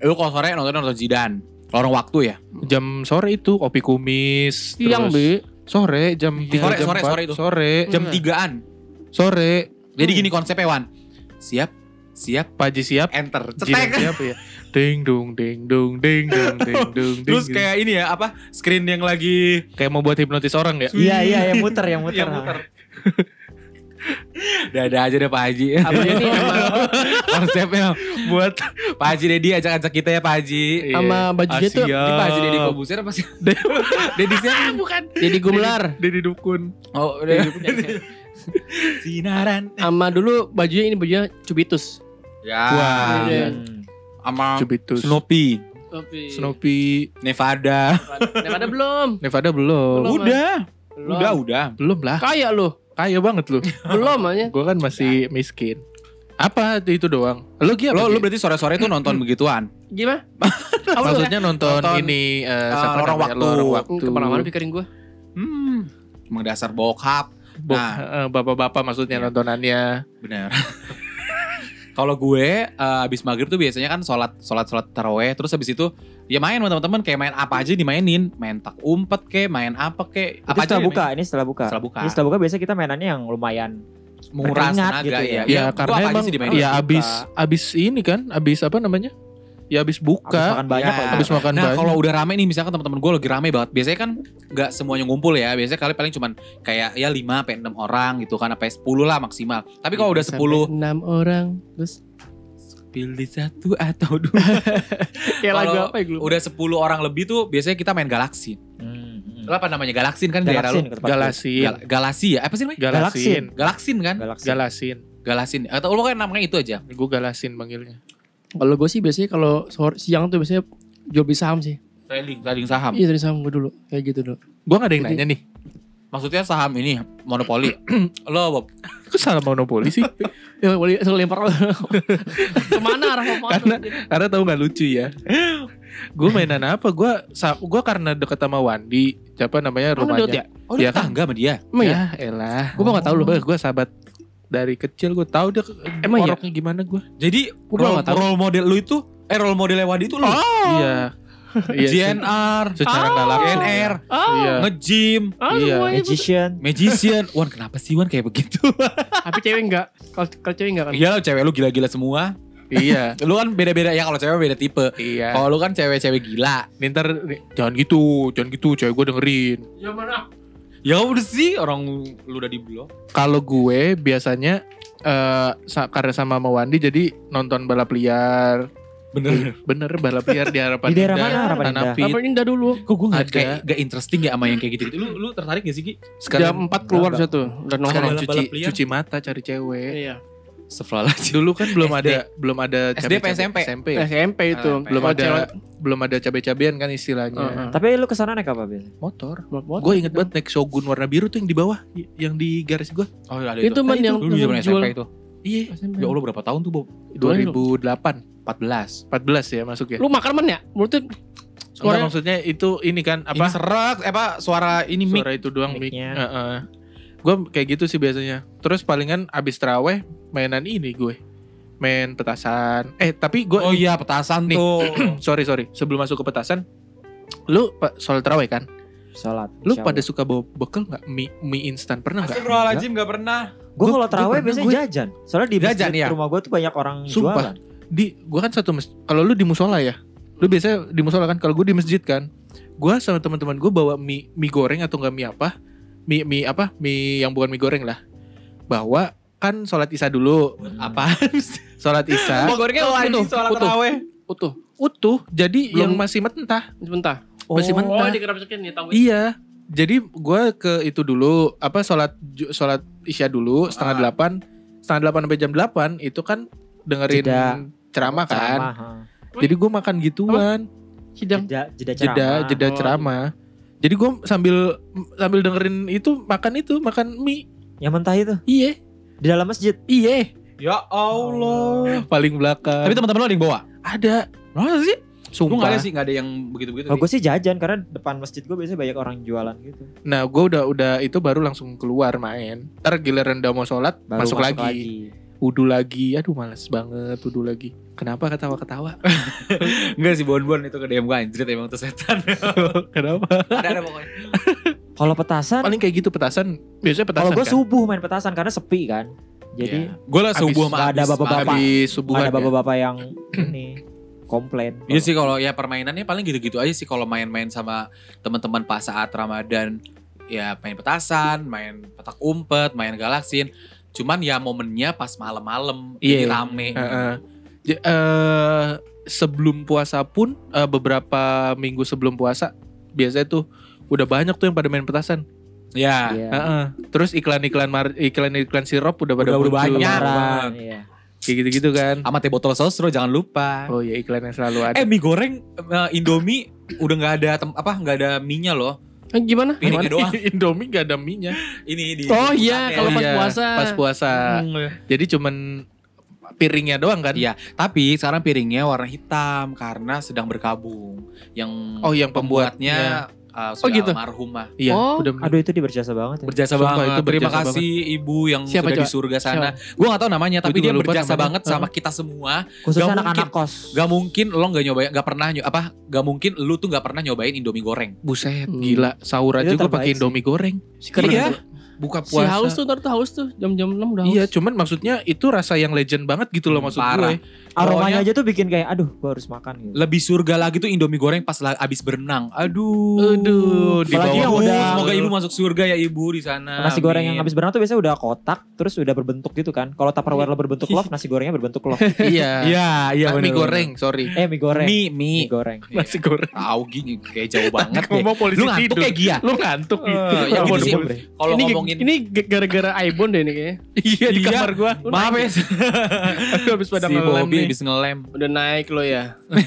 [SPEAKER 1] Eh, Lu kalau sore nonton nonton Jidan. Lorong waktu ya.
[SPEAKER 2] jam sore itu kopi kumis.
[SPEAKER 4] Siang,
[SPEAKER 2] terus
[SPEAKER 4] Bi.
[SPEAKER 2] Sore jam tiga
[SPEAKER 1] Sore,
[SPEAKER 2] jam
[SPEAKER 1] sore,
[SPEAKER 2] empat,
[SPEAKER 1] sore itu.
[SPEAKER 2] Sore,
[SPEAKER 1] Jam
[SPEAKER 4] Iya.
[SPEAKER 1] tigaan.
[SPEAKER 2] sore.
[SPEAKER 1] Jadi
[SPEAKER 2] Hmm.
[SPEAKER 1] gini konsepnya Wan. Siap, siap,
[SPEAKER 2] Pak Haji siap.
[SPEAKER 1] enter.
[SPEAKER 2] Jidan
[SPEAKER 1] Cetek.
[SPEAKER 2] siap ya. Ding dong ding dong ding dong ding dong. ding,
[SPEAKER 1] Terus
[SPEAKER 2] ding.
[SPEAKER 1] kayak ini ya apa screen yang lagi
[SPEAKER 2] kayak mau buat hipnotis orang ya.
[SPEAKER 3] Iya iya yang muter yang muter.
[SPEAKER 1] yang
[SPEAKER 3] Nah,
[SPEAKER 1] muter. Dada aja deh Pak Haji. Apa ini konsepnya?
[SPEAKER 2] buat
[SPEAKER 1] Pak Haji Dedi ajak-ajak kita ya Pak Haji.
[SPEAKER 4] Sama baju dia tuh.
[SPEAKER 2] Iya, Asia.
[SPEAKER 1] Ini Pak Haji Dedi Kobuser apa sih? Dedi siapa?
[SPEAKER 4] Jadi gumelar.
[SPEAKER 2] Dedi Dukun.
[SPEAKER 1] Oh, udah. Sinaran.
[SPEAKER 4] Sama dulu bajunya ini bajunya cubitus.
[SPEAKER 1] Ya.
[SPEAKER 2] Wah.
[SPEAKER 4] Iya.
[SPEAKER 1] Sama
[SPEAKER 2] Cubitus.
[SPEAKER 1] Snoopy,
[SPEAKER 4] Tapi
[SPEAKER 2] Snoopy.
[SPEAKER 1] Nevada.
[SPEAKER 4] Nevada belum.
[SPEAKER 2] Nevada belum.
[SPEAKER 4] Belum.
[SPEAKER 1] Udah, udah, udah.
[SPEAKER 2] Belum lah.
[SPEAKER 4] Kayak lu.
[SPEAKER 2] Kaya banget lu.
[SPEAKER 4] Belum aja.
[SPEAKER 2] Gue kan masih miskin. Apa itu itu doang? Lu Gi, apa,
[SPEAKER 1] Iya. Lo,
[SPEAKER 2] Gi?
[SPEAKER 1] lo berarti sore-sore tuh nonton begituan.
[SPEAKER 4] Gimana?
[SPEAKER 2] maksudnya nonton,
[SPEAKER 1] Nonton,
[SPEAKER 2] ini
[SPEAKER 1] eh,
[SPEAKER 2] eh, siapa
[SPEAKER 1] Lorong
[SPEAKER 2] namanya?
[SPEAKER 1] Waktu.
[SPEAKER 2] Lorong waktu.
[SPEAKER 4] Kemana-mana pikirin gue.
[SPEAKER 1] Hmm. Emang dasar bokap.
[SPEAKER 2] Bo-
[SPEAKER 1] Nah. Iya.
[SPEAKER 2] eh, Bapak-bapak maksudnya nontonannya.
[SPEAKER 1] Bener. Kalau gue eh, abis maghrib tuh biasanya kan sholat sholat sholat taraweh terus habis itu ya main sama teman-teman kayak main apa aja dimainin main tak umpet kek main apa kek
[SPEAKER 3] Apa
[SPEAKER 1] apa aja
[SPEAKER 3] setelah
[SPEAKER 1] dimainin.
[SPEAKER 3] buka? Ini setelah buka.
[SPEAKER 1] Setelah buka.
[SPEAKER 3] Ini setelah buka biasa kita mainannya yang lumayan
[SPEAKER 1] menguras
[SPEAKER 3] Berkeringat
[SPEAKER 1] tenaga ya.
[SPEAKER 3] gitu ya.
[SPEAKER 1] Iya,
[SPEAKER 2] Ya,
[SPEAKER 1] gua
[SPEAKER 2] karena
[SPEAKER 1] apa aja
[SPEAKER 2] emang
[SPEAKER 1] sih dimainin?
[SPEAKER 2] ya
[SPEAKER 3] Buka.
[SPEAKER 2] abis abis ini kan, abis apa namanya? Ya abis
[SPEAKER 3] habis
[SPEAKER 2] buka, Iya.
[SPEAKER 3] makan banyak
[SPEAKER 1] Ya.
[SPEAKER 3] kalau
[SPEAKER 2] abis
[SPEAKER 3] gitu.
[SPEAKER 2] makan
[SPEAKER 1] Nah
[SPEAKER 2] Kan banyak.
[SPEAKER 1] kalau udah rame nih misalkan teman-teman gue lagi rame banget Biasanya kan gak semuanya ngumpul ya Biasanya kali paling cuman kayak ya 5 sampai 6 orang gitu kan Sampai 10 lah maksimal Tapi
[SPEAKER 4] Iya,
[SPEAKER 1] kalau udah 10
[SPEAKER 4] Enam orang. Terus
[SPEAKER 1] Pilih satu atau dua
[SPEAKER 4] kayak lagu
[SPEAKER 1] Kalau
[SPEAKER 4] apa ya gue?
[SPEAKER 1] Udah 10 orang lebih tuh biasanya kita main galaksin
[SPEAKER 3] Hmm, hmm.
[SPEAKER 1] Apa namanya galaksin kan daerah
[SPEAKER 3] Galaksin
[SPEAKER 1] lu?
[SPEAKER 3] ke tempat
[SPEAKER 2] Galasin.
[SPEAKER 1] Gal- Galasi ya? Apa sih namanya?
[SPEAKER 2] Galasin.
[SPEAKER 1] Galaksin kan?
[SPEAKER 3] lu. Galaksin.
[SPEAKER 2] Galasin.
[SPEAKER 1] Galasin Atau lu kan namanya itu aja
[SPEAKER 2] Gue galasin panggilnya.
[SPEAKER 4] Kalau gue sih biasanya kalau sore- siang tuh biasanya jual beli saham sih.
[SPEAKER 1] Trading Trading saham
[SPEAKER 4] Iya dari saham gue dulu. Kayak gitu dulu.
[SPEAKER 2] Gue gak ada yang
[SPEAKER 4] Jadi-
[SPEAKER 2] nanya nih.
[SPEAKER 1] Maksudnya saham ini monopoli Lo Bob
[SPEAKER 2] Kok salah monopoli sih?
[SPEAKER 4] Ya boleh langsung lempar. Kemana arah mau
[SPEAKER 2] Karena- Karena tahu nggak lucu ya. gue mainan apa? Gue gue karena deket sama Wandi, siapa namanya
[SPEAKER 4] Mana Dot
[SPEAKER 2] rumahnya?
[SPEAKER 4] ya?
[SPEAKER 1] Oh dia
[SPEAKER 2] Iya kan?
[SPEAKER 1] tetangga sama dia
[SPEAKER 4] Emang ya?
[SPEAKER 2] elah.
[SPEAKER 4] Gua mah nggak tahu loh.
[SPEAKER 2] Gue sahabat dari kecil gue tahu dia
[SPEAKER 4] Emang iya?
[SPEAKER 2] orangnya gimana gue.
[SPEAKER 1] Jadi
[SPEAKER 4] Gua malah
[SPEAKER 1] role,
[SPEAKER 4] nggak tahu.
[SPEAKER 1] role model lu itu Eh role modelnya Wadi itu lu
[SPEAKER 2] Iya. Iya. se-
[SPEAKER 1] GNR
[SPEAKER 2] Secara nggak
[SPEAKER 4] Ah.
[SPEAKER 2] langsung.
[SPEAKER 1] GNR
[SPEAKER 4] Ah,
[SPEAKER 2] Iya.
[SPEAKER 1] nge-gym,
[SPEAKER 4] ah
[SPEAKER 2] Iya.
[SPEAKER 4] semuanya ikut.
[SPEAKER 3] Magician.
[SPEAKER 1] magician. Wan kenapa sih Wan kayak begitu?
[SPEAKER 4] Tapi cewek enggak. Kalau kalau cewek enggak kan.
[SPEAKER 1] Iya lo cewek lu gila-gila semua.
[SPEAKER 2] Iya.
[SPEAKER 1] Lu kan beda-beda ya kalau cewek beda tipe.
[SPEAKER 2] Iya.
[SPEAKER 1] Kalau lu kan cewek-cewek gila.
[SPEAKER 2] Nih, Ntar jangan gitu, jangan gitu, cewek gue dengerin.
[SPEAKER 4] Ya mana?
[SPEAKER 1] Ya udah sih orang lu udah di blok.
[SPEAKER 2] Kalau gue biasanya eh sa- karena sama sama Wandi jadi nonton balap liar.
[SPEAKER 1] Bener.
[SPEAKER 2] Bener balap liar di harapan
[SPEAKER 3] Di daerah
[SPEAKER 2] Indah,
[SPEAKER 3] mana Harapan
[SPEAKER 2] Tanah
[SPEAKER 3] Indah?
[SPEAKER 2] Pit.
[SPEAKER 4] Apa ini dah dulu?
[SPEAKER 1] Iya. Kok gue
[SPEAKER 2] Ada.
[SPEAKER 1] gak, kayak, gak interesting ya sama yang kayak gitu-gitu. Lu, lu tertarik gak sih Ki?
[SPEAKER 4] Jam 4 keluar
[SPEAKER 2] kan Enggak,
[SPEAKER 4] satu.
[SPEAKER 2] enggak.
[SPEAKER 4] Udah nongkrong.
[SPEAKER 1] Sekalian.
[SPEAKER 2] cuci,
[SPEAKER 1] Balap liar.
[SPEAKER 2] cuci mata cari cewek.
[SPEAKER 4] Iya.
[SPEAKER 1] Astagfirullahaladzim.
[SPEAKER 2] Dulu kan belum
[SPEAKER 1] SD.
[SPEAKER 2] ada belum ada
[SPEAKER 1] SD,
[SPEAKER 2] cabe-cabe-
[SPEAKER 1] SMP.
[SPEAKER 2] SMP ya?
[SPEAKER 4] SMP itu.
[SPEAKER 1] SMP.
[SPEAKER 2] Belum ada
[SPEAKER 4] Kalau Eh, cewek- Eh,
[SPEAKER 2] belum ada cabe-cabean kan istilahnya.
[SPEAKER 4] Heeh.
[SPEAKER 3] Tapi lu kesana naik apa biasanya?
[SPEAKER 2] Motor.
[SPEAKER 4] Buat-
[SPEAKER 2] Gue inget banget naik Shogun warna biru tuh yang di bawah, y- yang di garis gue.
[SPEAKER 1] Oh ada
[SPEAKER 4] Itu man yang
[SPEAKER 1] Dulu zaman
[SPEAKER 4] jual-
[SPEAKER 1] SMP itu.
[SPEAKER 2] Iya,
[SPEAKER 4] SMP.
[SPEAKER 1] Ya Allah berapa tahun tuh Bob?
[SPEAKER 2] 2008,
[SPEAKER 1] 14.
[SPEAKER 2] 14 ya masuk ya.
[SPEAKER 4] Lu makan men ya? Menurut
[SPEAKER 2] Enggak,
[SPEAKER 4] suara
[SPEAKER 2] maksudnya itu ini kan
[SPEAKER 1] Apa? Ini
[SPEAKER 2] apa?
[SPEAKER 1] serak, eh, apa suara ini mic.
[SPEAKER 2] suara itu doang mic.
[SPEAKER 3] Mic-nya.
[SPEAKER 2] Gue kayak gitu sih biasanya. Terus palingan abis teraweh mainan ini gue. Main petasan. Eh, tapi gue
[SPEAKER 1] Oh iya petasan
[SPEAKER 2] Nih.
[SPEAKER 1] tuh.
[SPEAKER 2] sorry sorry sebelum masuk ke petasan lu pa- soal terawih kan
[SPEAKER 3] Sholat.
[SPEAKER 2] lu pada suka bawa bekal nggak mie mie instan pernah nggak
[SPEAKER 1] Astagfirullahaladzim gak pernah.
[SPEAKER 3] Gue kalau
[SPEAKER 2] gua- gua
[SPEAKER 3] terawih
[SPEAKER 2] pernah,
[SPEAKER 3] biasanya
[SPEAKER 2] gua-
[SPEAKER 3] jajan. Soalnya di
[SPEAKER 1] Jajan,
[SPEAKER 3] masjid
[SPEAKER 1] iya.
[SPEAKER 3] rumah gue tuh banyak orang
[SPEAKER 2] Sumpah.
[SPEAKER 3] jualan.
[SPEAKER 2] di gua kan satu mes- kalau lu di musola ya lu biasanya di musola kan kalau gue di masjid kan gua sama teman-teman gue bawa mie mie goreng atau nggak mie apa mie mie apa mie yang bukan mie goreng lah bawa kan sholat isya dulu
[SPEAKER 1] Apaan sih?
[SPEAKER 2] sholat isya
[SPEAKER 1] gorengnya
[SPEAKER 4] lagi
[SPEAKER 2] sholat
[SPEAKER 1] terawih.
[SPEAKER 4] utuh.
[SPEAKER 2] Oh, utuh jadi
[SPEAKER 4] Belum-
[SPEAKER 2] yang masih mentah
[SPEAKER 4] Sebentar.
[SPEAKER 3] Oh.
[SPEAKER 2] Oh. masih mentah
[SPEAKER 4] dikerasakin ya tahu.
[SPEAKER 2] Iya. Jadi gua ke itu dulu apa sholat ju- sholat isya dulu setengah
[SPEAKER 1] Ah.
[SPEAKER 2] delapan setengah delapan sampai jam delapan itu kan dengerin
[SPEAKER 3] Jeda.
[SPEAKER 2] ceramah kan.
[SPEAKER 3] Ceramah, ha.
[SPEAKER 2] Jadi gua makan gituan
[SPEAKER 4] Sidang.
[SPEAKER 3] Jeda, jeda ceramah.
[SPEAKER 2] jeda jeda
[SPEAKER 4] Oh.
[SPEAKER 2] ceramah. Jadi gua sambil sambil dengerin itu makan itu makan mie.
[SPEAKER 3] Yang mentah itu.
[SPEAKER 2] Iya
[SPEAKER 3] Di dalam masjid.
[SPEAKER 2] iya
[SPEAKER 1] Ya Allah.
[SPEAKER 2] paling belakang.
[SPEAKER 1] Tapi teman-teman lo ada yang bawa?
[SPEAKER 2] ada
[SPEAKER 1] Masa sih? Lu nggak ada
[SPEAKER 2] Sumpah.
[SPEAKER 1] sih nggak ada yang begitu-begitu.
[SPEAKER 3] Oh,
[SPEAKER 1] sih?
[SPEAKER 3] gue sih jajan karena depan masjid gue biasanya banyak orang jualan gitu.
[SPEAKER 2] Nah, gue udah udah itu baru langsung keluar main. Ntar giliran udah mau sholat,
[SPEAKER 3] Baru
[SPEAKER 2] masuk, lagi. Udu lagi. Aduh, males banget udu lagi. Kenapa ketawa-ketawa?
[SPEAKER 1] Enggak sih Oh, bon-bon itu ke DM gue anjrit emang tuh setan.
[SPEAKER 2] Kenapa?
[SPEAKER 1] ada ada pokoknya.
[SPEAKER 3] Kalau petasan,
[SPEAKER 2] Paling kayak gitu petasan. Biasanya petasan
[SPEAKER 3] kalau gue
[SPEAKER 2] kan? Iya.
[SPEAKER 3] subuh main petasan karena sepi kan. Jadi
[SPEAKER 1] Gue lah
[SPEAKER 2] Abis
[SPEAKER 1] subuh sama
[SPEAKER 3] nggak ada
[SPEAKER 1] abis, sama
[SPEAKER 3] bapak-bapak.
[SPEAKER 1] abis.
[SPEAKER 2] Habis
[SPEAKER 3] nggak
[SPEAKER 2] subuhan ya.
[SPEAKER 3] ada bapak-bapak yang ini komplain.
[SPEAKER 1] Iya sih kalau ya permainannya paling gitu-gitu aja sih kalau main-main sama teman-teman pas saat Ramadan ya main petasan, main petak umpet, main galaksin. Cuman ya momennya pas malam-malam jadi
[SPEAKER 2] Iya.
[SPEAKER 1] rame.
[SPEAKER 2] ya. Heeh. Ja- eh, sebelum puasa pun eh, beberapa minggu sebelum puasa biasanya tuh udah banyak tuh yang pada main petasan.
[SPEAKER 1] Ya.
[SPEAKER 3] Iya.
[SPEAKER 2] Heeh. Terus iklan-iklan mar- iklan-iklan sirup udah pada
[SPEAKER 1] Udah- udah
[SPEAKER 2] muncul.
[SPEAKER 1] banyak.
[SPEAKER 3] Lebaran, iya.
[SPEAKER 2] Kayak gitu-gitu kan.
[SPEAKER 1] Sama teh botol sosro jangan lupa.
[SPEAKER 2] Oh iya iklan yang selalu ada.
[SPEAKER 1] Eh mie goreng eh, Indomie udah nggak ada tem- apa nggak ada minyak loh.
[SPEAKER 4] Eh, Gimana?
[SPEAKER 1] Piringnya
[SPEAKER 2] Cuman
[SPEAKER 1] doang.
[SPEAKER 2] Indomie gak ada minyak.
[SPEAKER 1] Ini di
[SPEAKER 4] Oh iya,
[SPEAKER 1] di-
[SPEAKER 4] kalau pas
[SPEAKER 2] Iya,
[SPEAKER 4] puasa.
[SPEAKER 2] Pas puasa.
[SPEAKER 4] Hmm,
[SPEAKER 2] Jadi cuman piringnya doang kan?
[SPEAKER 1] Iya. Tapi sekarang piringnya warna hitam karena sedang berkabung. Yang
[SPEAKER 2] Oh, yang
[SPEAKER 1] pembuatnya eh, sudah
[SPEAKER 4] gitu.
[SPEAKER 1] almarhumah.
[SPEAKER 2] Iya,
[SPEAKER 4] Oh.
[SPEAKER 2] udah
[SPEAKER 3] Aduh itu dia berjasa banget ya.
[SPEAKER 1] Berjasa
[SPEAKER 2] Sumpah,
[SPEAKER 1] banget.
[SPEAKER 2] itu
[SPEAKER 1] Terima
[SPEAKER 2] berjasa
[SPEAKER 1] kasih ibu yang
[SPEAKER 4] Siapa,
[SPEAKER 1] sudah di
[SPEAKER 4] Cok?
[SPEAKER 1] surga sana. Gue gak tahu namanya,
[SPEAKER 2] Gua
[SPEAKER 1] tapi
[SPEAKER 2] juga
[SPEAKER 1] dia
[SPEAKER 2] lupa
[SPEAKER 1] berjasa
[SPEAKER 2] namanya.
[SPEAKER 1] banget sama kita semua.
[SPEAKER 3] Khususnya
[SPEAKER 1] Nggak
[SPEAKER 3] anak-anak kos.
[SPEAKER 1] Gak mungkin lo gak nyobain, gak pernah nyo- apa? Gak mungkin lu tuh gak pernah nyobain Indomie goreng.
[SPEAKER 2] buset
[SPEAKER 4] Hmm.
[SPEAKER 2] gila sahur aja
[SPEAKER 3] Itu
[SPEAKER 2] gue
[SPEAKER 3] terbaik
[SPEAKER 2] pakai
[SPEAKER 3] sih.
[SPEAKER 2] Indomie goreng.
[SPEAKER 4] Karena
[SPEAKER 1] Iya.
[SPEAKER 4] tuh,
[SPEAKER 2] Buka
[SPEAKER 4] Si
[SPEAKER 2] puasa.
[SPEAKER 4] haus tuh, ntar tuh haus tuh. Jam-jam 6 udah haus.
[SPEAKER 2] Iya, cuman maksudnya itu rasa yang legend banget gitu loh
[SPEAKER 1] Hmm,
[SPEAKER 2] maksud
[SPEAKER 1] parah.
[SPEAKER 2] gue.
[SPEAKER 3] Aromanya aja tuh bikin kayak aduh gue harus makan gitu.
[SPEAKER 1] Lebih surga lagi tuh Indomie goreng pas la- abis berenang. Aduh.
[SPEAKER 2] Aduh, di
[SPEAKER 3] Apalagi yang
[SPEAKER 1] Ibu,
[SPEAKER 2] bawah.
[SPEAKER 3] udah-
[SPEAKER 1] semoga ibu masuk surga ya ibu di sana.
[SPEAKER 3] Nasi goreng yang
[SPEAKER 1] Amin.
[SPEAKER 3] habis berenang tuh biasanya udah kotak terus udah berbentuk gitu kan. Kalau Tupperware lo berbentuk love, nasi gorengnya berbentuk love.
[SPEAKER 2] Iya.
[SPEAKER 1] Iya, iya
[SPEAKER 2] Ah,
[SPEAKER 1] bener,
[SPEAKER 2] mie
[SPEAKER 1] bener.
[SPEAKER 2] goreng, sorry.
[SPEAKER 3] Eh mie goreng.
[SPEAKER 1] Mie, mie.
[SPEAKER 3] Mie goreng.
[SPEAKER 2] Nasi goreng.
[SPEAKER 1] Tahu gini Iya. kayak jauh banget deh.
[SPEAKER 2] Ngomong polisi
[SPEAKER 1] Lu ngantuk
[SPEAKER 2] tidur.
[SPEAKER 1] kayak Gia.
[SPEAKER 2] Lu ngantuk
[SPEAKER 4] Iya.
[SPEAKER 1] Eh,
[SPEAKER 2] gitu.
[SPEAKER 1] ya
[SPEAKER 2] Kalau
[SPEAKER 1] gitu sih.
[SPEAKER 2] boleh.
[SPEAKER 1] Kalau
[SPEAKER 4] ini,
[SPEAKER 1] ngomongin
[SPEAKER 4] ini gara-gara Aibon deh ini kayaknya.
[SPEAKER 2] Iya di
[SPEAKER 1] Iya.
[SPEAKER 2] kamar gua.
[SPEAKER 1] maaf ya si
[SPEAKER 2] Aduh, habis pada ngelem
[SPEAKER 1] Bobby
[SPEAKER 2] nih.
[SPEAKER 1] habis ngelem.
[SPEAKER 4] Udah naik lo
[SPEAKER 1] Iya.
[SPEAKER 4] ya.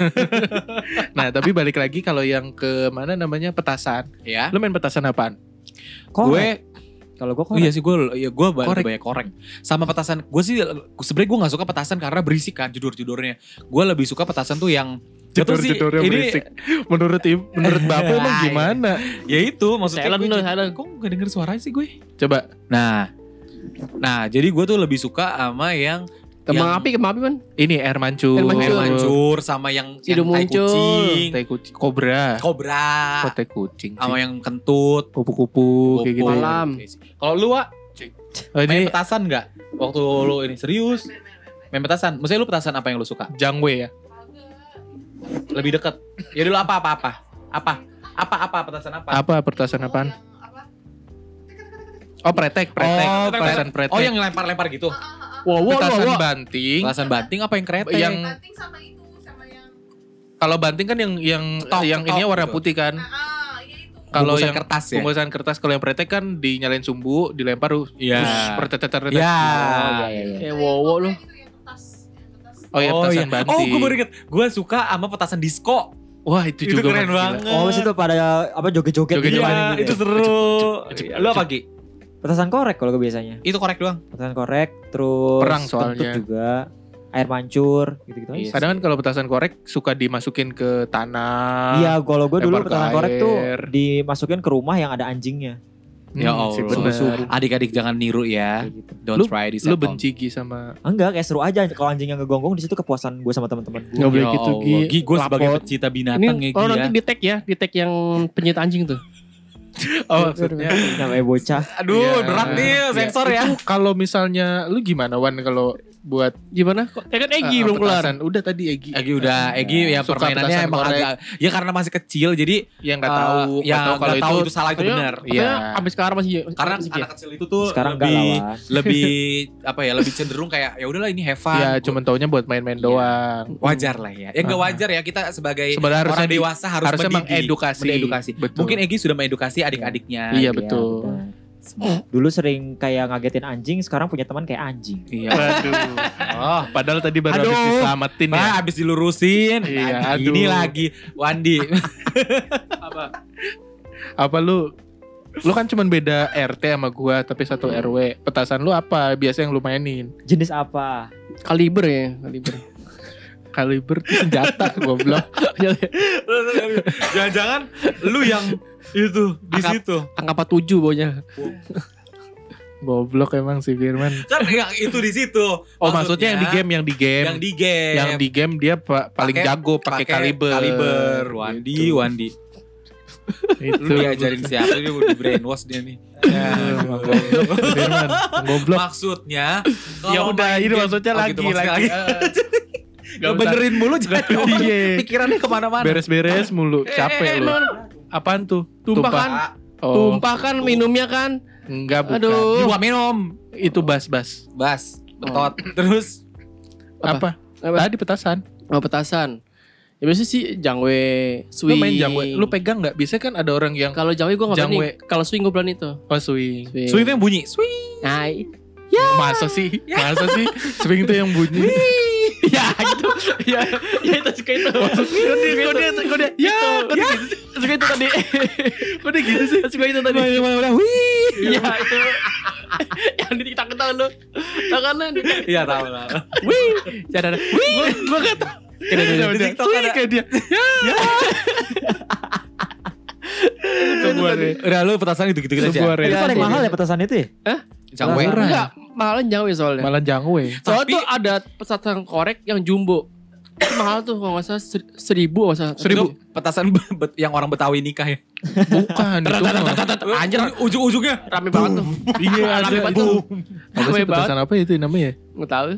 [SPEAKER 2] Nah, tapi balik lagi kalau yang ke mana namanya petasan.
[SPEAKER 1] Ya.
[SPEAKER 2] Lu main petasan apaan?
[SPEAKER 3] Gue
[SPEAKER 1] Gue
[SPEAKER 3] kalau gue
[SPEAKER 1] Oh
[SPEAKER 3] kok
[SPEAKER 1] iya sih gue ya gue
[SPEAKER 2] Korek.
[SPEAKER 1] banyak, banyak koreng sama petasan gue sih sebenarnya gue nggak suka petasan karena berisik kan judor-judornya gue lebih suka petasan tuh yang Gak tau sih,
[SPEAKER 2] Jedor-jedornya
[SPEAKER 1] ini-
[SPEAKER 2] berisik. Menurut i- menurut Bapak emang
[SPEAKER 1] Iya.
[SPEAKER 2] gimana?
[SPEAKER 1] ya itu maksudnya
[SPEAKER 4] Silent
[SPEAKER 1] gue
[SPEAKER 4] dong,
[SPEAKER 1] jadi-
[SPEAKER 4] silent.
[SPEAKER 1] kok gak denger suaranya sih gue
[SPEAKER 2] Coba
[SPEAKER 1] nah nah jadi gue tuh lebih suka sama yang Yang-
[SPEAKER 4] Kembang api, kembang api kan.
[SPEAKER 2] ini air mancur.
[SPEAKER 4] Air
[SPEAKER 1] air
[SPEAKER 4] Mancur.
[SPEAKER 1] mancur sama yang yang
[SPEAKER 4] Hidung
[SPEAKER 1] tai
[SPEAKER 4] muncul.
[SPEAKER 1] kucing
[SPEAKER 2] Tai kucing, kobra.
[SPEAKER 1] kobra
[SPEAKER 2] Kok tai kucing sih?
[SPEAKER 1] Ah. sama yang kentut
[SPEAKER 2] Kupu-kupu kayak gitu.
[SPEAKER 1] kupu.
[SPEAKER 2] ya.
[SPEAKER 4] Malam.
[SPEAKER 1] kalau lu Wak,
[SPEAKER 2] Oh,
[SPEAKER 1] main
[SPEAKER 2] ini
[SPEAKER 1] petasan nggak waktu lu ini serius main petasan maksudnya lu petasan apa yang lu suka
[SPEAKER 2] jangwe ya.
[SPEAKER 1] lebih deket ya dulu apa apa apa apa apa apa petasan apa
[SPEAKER 2] Apa petasan apaan? Oh, pretek, pretek.
[SPEAKER 1] Oh,
[SPEAKER 2] petasan pretek.
[SPEAKER 1] oh yang lempar-lempar gitu
[SPEAKER 4] Wow, wow, wow,
[SPEAKER 2] petasan
[SPEAKER 4] wow.
[SPEAKER 2] banting.
[SPEAKER 1] petasan banting apa yang kereta
[SPEAKER 2] Yang
[SPEAKER 5] Banting sama itu sama yang
[SPEAKER 2] kalau banting kan yang yang
[SPEAKER 1] Ketok,
[SPEAKER 2] yang
[SPEAKER 1] ketok
[SPEAKER 2] ini warna
[SPEAKER 1] gitu.
[SPEAKER 2] putih kan.
[SPEAKER 5] ah, ah, ya itu.
[SPEAKER 2] Kalau
[SPEAKER 1] Bungkusan
[SPEAKER 2] yang
[SPEAKER 1] kertas ya
[SPEAKER 2] pembahasan kertas kalau yang pretek kan dinyalain sumbu, dilempar
[SPEAKER 1] Iya.
[SPEAKER 2] pertetet
[SPEAKER 1] ya
[SPEAKER 3] Oh iya iya iya.
[SPEAKER 4] Eh, wow, wow lo.
[SPEAKER 5] Yang itu, yang gitu,
[SPEAKER 2] Oh,
[SPEAKER 5] kertas, yang kertas.
[SPEAKER 2] iya, petasan
[SPEAKER 1] iya.
[SPEAKER 2] banting.
[SPEAKER 1] Oh, gue baru inget. Gue suka sama petasan disco.
[SPEAKER 2] Wah, itu
[SPEAKER 1] Itu,
[SPEAKER 2] juga
[SPEAKER 1] keren
[SPEAKER 2] masih gila.
[SPEAKER 1] banget.
[SPEAKER 3] Oh, itu pada apa joget-joget
[SPEAKER 2] Joget-joget.
[SPEAKER 3] gitu
[SPEAKER 1] Iya,
[SPEAKER 3] kan, gitu
[SPEAKER 1] itu
[SPEAKER 3] ya.
[SPEAKER 1] seru. Iya,
[SPEAKER 2] ecep,
[SPEAKER 1] Lu apa, Ki?
[SPEAKER 3] Petasan korek kalau gue biasanya.
[SPEAKER 1] Itu korek doang.
[SPEAKER 2] Hmm,
[SPEAKER 3] Petasan korek terus
[SPEAKER 2] Perang
[SPEAKER 3] kentut
[SPEAKER 2] soalnya.
[SPEAKER 3] juga air mancur gitu-gitu aja.
[SPEAKER 1] Iya.
[SPEAKER 2] Kadang kan kalau petasan korek suka dimasukin ke tanah.
[SPEAKER 3] Iya, kalau gue dulu
[SPEAKER 2] Lempar ke
[SPEAKER 3] petasan korek tuh
[SPEAKER 2] air.
[SPEAKER 3] dimasukin ke rumah yang ada anjingnya.
[SPEAKER 1] Ya Allah.
[SPEAKER 2] sih, bener.
[SPEAKER 3] Subuh-subuh.
[SPEAKER 1] Adik-adik jangan niru ya.
[SPEAKER 3] Kayak gitu.
[SPEAKER 1] Don't try this at
[SPEAKER 2] Lu
[SPEAKER 1] home.
[SPEAKER 2] benci Gi sama
[SPEAKER 3] Ah, Enggak, kayak seru aja kalau anjing yang ngegonggong di situ kepuasan gue sama teman-teman gue.
[SPEAKER 2] Nggak boleh
[SPEAKER 1] Ya
[SPEAKER 2] gitu,
[SPEAKER 1] Allah.
[SPEAKER 2] Gi.
[SPEAKER 1] Gi, gue sebagai
[SPEAKER 2] Lapor.
[SPEAKER 1] pecinta
[SPEAKER 4] Ini
[SPEAKER 1] binatang ya, Gi
[SPEAKER 4] oh,
[SPEAKER 1] ya.
[SPEAKER 4] nanti di tag ya, di tag yang penyita anjing tuh. Iya,
[SPEAKER 2] Oh, maksudnya
[SPEAKER 3] Namanya bocah.
[SPEAKER 1] Aduh,
[SPEAKER 2] Iya.
[SPEAKER 1] berat nih
[SPEAKER 2] Iya.
[SPEAKER 1] sensor ya.
[SPEAKER 2] Itu kalau misalnya lu gimana Wan kalau buat
[SPEAKER 4] Gimana? Kok eh, kan Egi
[SPEAKER 2] eh,
[SPEAKER 4] belum kelar.
[SPEAKER 2] petasan? Udah tadi Egi.
[SPEAKER 1] Egi Iya, udah, Egi ya
[SPEAKER 2] Suka
[SPEAKER 1] permainannya
[SPEAKER 2] petasan
[SPEAKER 1] emang
[SPEAKER 2] korek.
[SPEAKER 1] agak ya karena masih kecil jadi
[SPEAKER 2] yang nggak
[SPEAKER 1] eh,
[SPEAKER 2] tahu, nggak
[SPEAKER 1] ya
[SPEAKER 2] tahu
[SPEAKER 1] nggak tahu Iya.
[SPEAKER 2] kalau
[SPEAKER 1] itu, salah itu
[SPEAKER 4] Katanya-
[SPEAKER 1] benar.
[SPEAKER 2] Iya.
[SPEAKER 4] katanya Abis kelar masih ya,
[SPEAKER 1] Karena
[SPEAKER 4] masih
[SPEAKER 1] anak kecil itu tuh
[SPEAKER 3] Sekarang enggak
[SPEAKER 1] lebih
[SPEAKER 3] lawan.
[SPEAKER 1] lebih apa ya lebih cenderung kayak ya udahlah ini have fun.
[SPEAKER 2] ya
[SPEAKER 1] Gua-
[SPEAKER 2] cuman taunya buat main-main
[SPEAKER 1] Iya.
[SPEAKER 2] doang.
[SPEAKER 1] wajar lah ya. Ya nggak
[SPEAKER 2] Ah.
[SPEAKER 1] wajar ya kita sebagai
[SPEAKER 2] Sebenarnya harusnya
[SPEAKER 1] orang
[SPEAKER 2] di-
[SPEAKER 1] dewasa harus
[SPEAKER 2] harusnya
[SPEAKER 1] mendidik,
[SPEAKER 2] mengedukasi.
[SPEAKER 1] mengedukasi.
[SPEAKER 2] Betul.
[SPEAKER 1] Mungkin Egi sudah mengedukasi adik-adiknya.
[SPEAKER 2] Iya,
[SPEAKER 3] Iya,
[SPEAKER 2] betul.
[SPEAKER 3] betul. Eh, Dulu sering kayak ngagetin anjing, sekarang punya teman kayak anjing.
[SPEAKER 1] Iya.
[SPEAKER 2] Waduh. Oh, padahal tadi baru habis
[SPEAKER 1] Aduh.
[SPEAKER 2] diselamatin ya.
[SPEAKER 1] Pak, abis Nah, dilurusin.
[SPEAKER 2] Iya,
[SPEAKER 1] Lagi,
[SPEAKER 2] aduh.
[SPEAKER 1] Ini lagi Wandi.
[SPEAKER 2] Apa lu Lu kan cuman beda RT sama gua tapi satu RW. Petasan lu apa? Biasa yang lu mainin.
[SPEAKER 3] Jenis apa?
[SPEAKER 4] kaliber ya, kaliber.
[SPEAKER 2] kaliber itu senjata goblok.
[SPEAKER 1] Jangan-jangan lu yang itu di
[SPEAKER 4] Akap.
[SPEAKER 1] situ.
[SPEAKER 4] Angka 47 baunya.
[SPEAKER 2] Goblok emang si Firman.
[SPEAKER 1] Kan yang itu di situ.
[SPEAKER 2] Oh maksudnya, yang di game yang di game.
[SPEAKER 1] Yang di game.
[SPEAKER 2] Yang di game dia pa- paling
[SPEAKER 1] Pakai-
[SPEAKER 2] jago pakai kaliber.
[SPEAKER 1] Kaliber. Iya, Wandi,
[SPEAKER 2] Gitu.
[SPEAKER 1] Wandi.
[SPEAKER 2] Itu.
[SPEAKER 1] Lu diajarin siapa dia udah di brainwash dia nih.
[SPEAKER 2] Ya, emang goblok Firman. Goblok.
[SPEAKER 1] Maksudnya
[SPEAKER 2] Ya
[SPEAKER 1] kalau
[SPEAKER 2] udah,
[SPEAKER 1] main
[SPEAKER 2] ini
[SPEAKER 1] game-
[SPEAKER 2] maksudnya
[SPEAKER 1] Oh,
[SPEAKER 2] lagi
[SPEAKER 1] gitu, maksudnya eh,
[SPEAKER 2] lagi. Gak usah.
[SPEAKER 1] Benerin mulu jadi orang
[SPEAKER 2] Iya.
[SPEAKER 1] pikirannya kemana-mana.
[SPEAKER 2] Beres-beres mulu,
[SPEAKER 4] Eh,
[SPEAKER 2] capek
[SPEAKER 4] eh,
[SPEAKER 2] lu.
[SPEAKER 4] non.
[SPEAKER 2] Apaan tuh?
[SPEAKER 4] Tumpah kan?
[SPEAKER 2] Oh,
[SPEAKER 4] Tumpah kan minumnya kan?
[SPEAKER 2] enggak bukan.
[SPEAKER 4] Aduh.
[SPEAKER 1] Juga minum.
[SPEAKER 2] Itu bas-bas.
[SPEAKER 1] Bas,
[SPEAKER 2] Oh.
[SPEAKER 1] betot. Terus
[SPEAKER 2] Apa?
[SPEAKER 4] Apa? Apa?
[SPEAKER 2] Tadi petasan.
[SPEAKER 4] Oh petasan. Ya biasanya sih jangwe,
[SPEAKER 2] Lu
[SPEAKER 4] swing.
[SPEAKER 2] main jangwe, lu pegang nggak? Biasanya kan ada orang yang
[SPEAKER 4] kalau jangwe gua enggak
[SPEAKER 2] Jangwe.
[SPEAKER 4] berani. Kalau swing gua berani tuh.
[SPEAKER 2] oh swing. Oh,
[SPEAKER 4] Swing.
[SPEAKER 1] swing itu yang bunyi. Swing. Ya.
[SPEAKER 4] Nah, i-
[SPEAKER 2] Masa sih? Masa sih? Swing tuh yang bunyi.
[SPEAKER 4] ya gitu. ya, ya itu suka itu. Kok dia kok dia kok dia ya, kok dia gitu sih? suka itu tadi. Kok dia gitu sih? Suka itu tadi. Iya itu. Yang di tangan tangan lu. Tangannya di
[SPEAKER 1] Iya tahu tahu.
[SPEAKER 4] Wih, cara Wih, gua enggak tahu.
[SPEAKER 1] Kira
[SPEAKER 2] Udah,
[SPEAKER 1] di
[SPEAKER 2] udah.
[SPEAKER 1] TikTok
[SPEAKER 2] Swing
[SPEAKER 1] ada.
[SPEAKER 2] kayak dia.
[SPEAKER 4] Ya.
[SPEAKER 2] Sebuah re-
[SPEAKER 1] Udah lu petasan gitu gitu
[SPEAKER 2] sebuah
[SPEAKER 1] aja.
[SPEAKER 3] Itu
[SPEAKER 2] relasi.
[SPEAKER 3] paling mahal ya petasan itu ya?
[SPEAKER 1] Jangwe.
[SPEAKER 2] Murah.
[SPEAKER 4] Enggak, malah jangwe soalnya.
[SPEAKER 2] Malah jangwe.
[SPEAKER 4] Soalnya
[SPEAKER 1] Tapi-
[SPEAKER 4] tuh ada petasan korek yang jumbo. Itu mahal tuh kalau nggak salah ser- seribu kalau nggak salah.
[SPEAKER 1] Seribu petasan be- be- yang orang Betawi nikah ya.
[SPEAKER 2] Bukan itu. mah.
[SPEAKER 1] Anjir ujung-ujungnya
[SPEAKER 4] Rame banget tuh.
[SPEAKER 2] Iya, ada
[SPEAKER 4] Rame banget
[SPEAKER 2] itu.
[SPEAKER 4] tuh.
[SPEAKER 2] Apa
[SPEAKER 4] Rame
[SPEAKER 2] sih
[SPEAKER 4] banget.
[SPEAKER 2] petasan apa itu namanya?
[SPEAKER 4] Nggak tahu.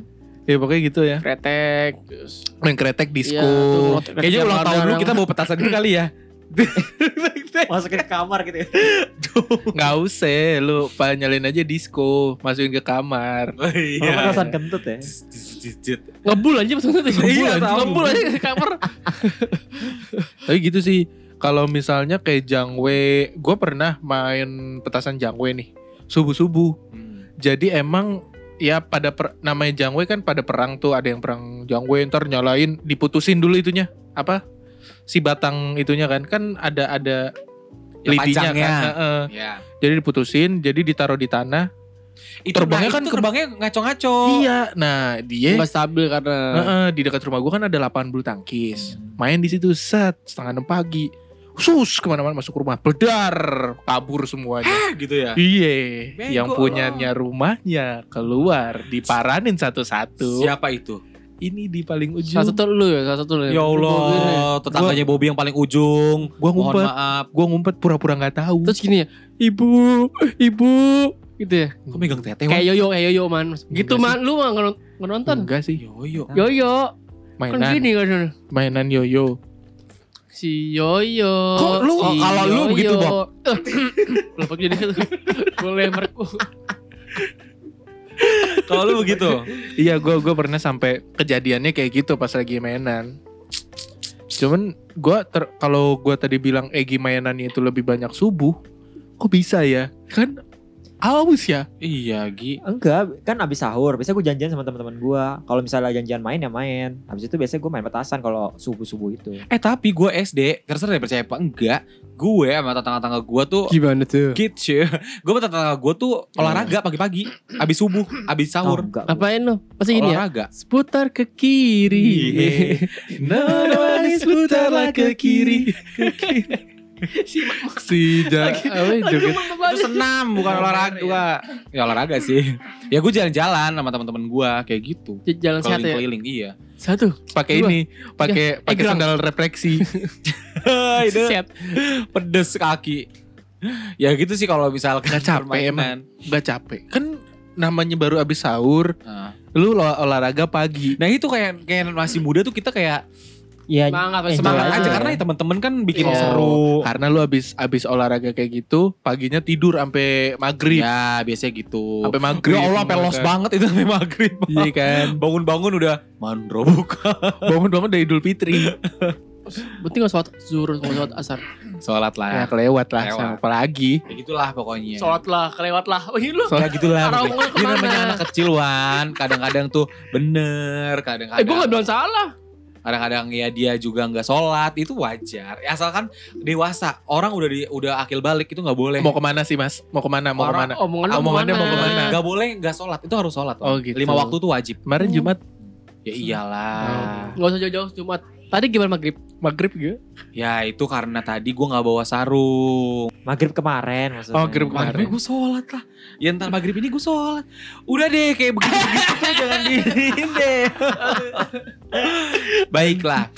[SPEAKER 2] Ya pokoknya gitu ya.
[SPEAKER 4] Kretek. terus-
[SPEAKER 2] Main kretek disco.
[SPEAKER 4] Iya, tuh, kretek
[SPEAKER 1] Kayaknya
[SPEAKER 4] yang
[SPEAKER 1] ulang tahun
[SPEAKER 4] ada
[SPEAKER 1] lu
[SPEAKER 4] yang-
[SPEAKER 1] kita bawa petasan itu kali ya.
[SPEAKER 3] Masukin ke kamar gitu ya.
[SPEAKER 2] Nggak usah, lu pa- nyalain aja disco, masukin ke kamar.
[SPEAKER 1] Oh,
[SPEAKER 3] Kalau petasan kentut ya.
[SPEAKER 1] Jis, jis, jis, jis.
[SPEAKER 4] ngebul aja maksudnya tuh.
[SPEAKER 1] Iya,
[SPEAKER 4] Ngebul aja.
[SPEAKER 1] tahu.
[SPEAKER 4] Ngebul aja ke kamar.
[SPEAKER 2] Eh. Tapi gitu sih, kalau misalnya kayak jangwe, gue pernah main petasan jangwe nih, subuh-subuh.
[SPEAKER 1] Hmm.
[SPEAKER 2] Jadi emang ya pada per- namanya jangwe kan pada perang tuh ada yang perang jangwe ntar nyalain diputusin dulu itunya apa si batang itunya kan kan ada ada
[SPEAKER 1] Ya,
[SPEAKER 2] lidinya
[SPEAKER 1] panjangnya.
[SPEAKER 2] kan heeh.
[SPEAKER 1] Ya.
[SPEAKER 2] jadi diputusin jadi ditaruh di tanah
[SPEAKER 1] Itu
[SPEAKER 2] Terbangnya
[SPEAKER 1] nah,
[SPEAKER 2] kan
[SPEAKER 1] itu
[SPEAKER 2] ke-
[SPEAKER 1] terbangnya ngaco-ngaco.
[SPEAKER 2] iya nah dia
[SPEAKER 4] Nggak stabil karena.
[SPEAKER 2] heeh, di dekat rumah gua kan ada lapangan bulu tangkis main di situ set setengah enam pagi sus kemana-mana masuk rumah bedar kabur semuanya
[SPEAKER 1] Ah, gitu ya.
[SPEAKER 2] Iya,
[SPEAKER 1] Bego.
[SPEAKER 2] yang punyanya rumahnya keluar diparanin satu-satu.
[SPEAKER 1] Siapa itu?
[SPEAKER 2] Ini di paling ujung.
[SPEAKER 4] Salah satu lu ya, salah satu lu.
[SPEAKER 1] Ya Allah, tetangganya Bobby yang paling ujung.
[SPEAKER 2] Gua
[SPEAKER 1] Mohon
[SPEAKER 2] ngumpet,
[SPEAKER 1] maaf.
[SPEAKER 2] gua ngumpet pura-pura nggak tahu.
[SPEAKER 4] Terus gini ya, ibu, ibu, gitu ya.
[SPEAKER 1] Kok megang tete? Wan?
[SPEAKER 4] Kayak yoyo, kayak yoyo man. Gitu
[SPEAKER 2] Enggak
[SPEAKER 4] man, lu mah nggak non- nggak nonton.
[SPEAKER 2] enggak sih,
[SPEAKER 1] Yoyo.
[SPEAKER 4] Yoyo, kan
[SPEAKER 2] mainan,
[SPEAKER 4] gini kan.
[SPEAKER 2] mainan yoyo.
[SPEAKER 4] Si Yoyo.
[SPEAKER 1] Kok lu-
[SPEAKER 4] si
[SPEAKER 1] Oh, kalau lu
[SPEAKER 4] Yoyo.
[SPEAKER 1] begitu, Bob.
[SPEAKER 4] Lu pakai jadi itu. Boleh merku.
[SPEAKER 1] Kalau lu begitu.
[SPEAKER 2] Iya, gua gua pernah sampai kejadiannya kayak gitu pas lagi mainan. Cuman gua ter- kalau gua tadi bilang Egi mainannya itu lebih banyak subuh, kok bisa ya? Kan aus ya.
[SPEAKER 1] Iya, Gi.
[SPEAKER 3] Enggak, kan abis sahur. Biasanya gue janjian sama teman-teman gue. Kalau misalnya janjian main ya main. Abis itu biasanya gue main petasan kalau subuh-subuh itu.
[SPEAKER 1] Eh tapi gue SD, terserah deh percaya apa enggak, gue sama tetangga-tetangga gue tuh
[SPEAKER 4] Gimana tuh?
[SPEAKER 1] gitu. Gue sama tetangga gue tuh olahraga pagi-pagi, abis subuh, abis
[SPEAKER 3] Oh,
[SPEAKER 1] sahur.
[SPEAKER 3] enggak.
[SPEAKER 4] Apain lu? Masih gini ya? Iya.
[SPEAKER 1] olahraga. Iya.
[SPEAKER 4] Seputar ke kiri.
[SPEAKER 2] Nonis putarlah ke kiri.
[SPEAKER 4] si Mak-
[SPEAKER 2] Si ja- apa ya, joget
[SPEAKER 1] Itu senam bukan olahraga. Gua- Iya, Ya olahraga sih. Ya gue jalan-jalan sama teman-teman gue kayak gitu.
[SPEAKER 4] Jalan sehat ya?
[SPEAKER 1] Keliling-keliling iya.
[SPEAKER 4] Satu.
[SPEAKER 2] pakai
[SPEAKER 4] Dua.
[SPEAKER 2] ini, pakai pakai
[SPEAKER 1] eh,
[SPEAKER 4] gerang.
[SPEAKER 2] sandal refleksi.
[SPEAKER 1] Ah, Itu
[SPEAKER 4] Sehat.
[SPEAKER 1] pedes kaki. Ya gitu sih kalau misalkan
[SPEAKER 2] Nggak capek
[SPEAKER 1] permainan.
[SPEAKER 2] Gak capek. Kan namanya baru abis sahur,
[SPEAKER 1] Nah.
[SPEAKER 2] lu olah- olahraga pagi.
[SPEAKER 1] Nah itu kayak kayak masih muda tuh kita kayak
[SPEAKER 3] Iya,
[SPEAKER 4] Semangat,
[SPEAKER 3] enjoy
[SPEAKER 1] semangat
[SPEAKER 4] Iya.
[SPEAKER 1] aja karena ya teman-teman kan bikin
[SPEAKER 4] Iya.
[SPEAKER 1] seru.
[SPEAKER 2] Karena lu abis abis olahraga kayak gitu, paginya tidur sampai maghrib,
[SPEAKER 1] Ya biasanya gitu.
[SPEAKER 2] sampai maghrib.
[SPEAKER 1] Ya Allah, sampai los banget itu sampai maghrib.
[SPEAKER 2] Iya kan,
[SPEAKER 1] Bangun-bangun udah mandro buka.
[SPEAKER 2] bangun bangun dari Idul Fitri.
[SPEAKER 4] Berarti gak sholat zuhur, gak sholat asar.
[SPEAKER 1] Sholat lah.
[SPEAKER 2] ya kelewat lah,
[SPEAKER 1] Kelewat.
[SPEAKER 2] sama apalagi.
[SPEAKER 1] Ya gitulah pokoknya.
[SPEAKER 4] Sholat lah, kelewat lah. Oh ini lu.
[SPEAKER 1] Ya gitulah.
[SPEAKER 4] Arah
[SPEAKER 1] pokoknya.
[SPEAKER 4] omongan
[SPEAKER 1] Ini
[SPEAKER 4] kemana?
[SPEAKER 1] namanya anak kecil Wan. Kadang-kadang tuh bener,
[SPEAKER 4] Eh gue gak
[SPEAKER 1] kadang-kadang
[SPEAKER 4] bilang salah.
[SPEAKER 1] kadang-kadang ya dia juga nggak sholat itu wajar. Ya, asalkan dewasa. Orang udah di, udah akil balik itu nggak boleh.
[SPEAKER 2] Eh, Mau kemana sih mas? Mau kemana? Mau
[SPEAKER 1] Orang-
[SPEAKER 2] kemana?
[SPEAKER 4] Omongan lu
[SPEAKER 2] Omongannya mau
[SPEAKER 1] Nggak
[SPEAKER 2] kemana?
[SPEAKER 1] boleh nggak sholat itu harus sholat. Wan.
[SPEAKER 2] Oh, gitu. Hmm. Oh,
[SPEAKER 1] Lima waktu tuh wajib.
[SPEAKER 2] Kemarin Jumat
[SPEAKER 1] Ya Ya
[SPEAKER 2] gitu.
[SPEAKER 1] iyalah.
[SPEAKER 4] Gak usah jauh-jauh Jumat. Tadi gimana maghrib?
[SPEAKER 2] Maghrib juga.
[SPEAKER 1] Ya itu karena tadi gue nggak bawa sarung.
[SPEAKER 3] Maghrib kemarin maksudnya.
[SPEAKER 2] Oh, maghrib kemarin.
[SPEAKER 1] Maghrib gue sholat lah. Ya ntar maghrib ini gue sholat. Udah deh kayak begitu begitu jangan diin deh. Baiklah.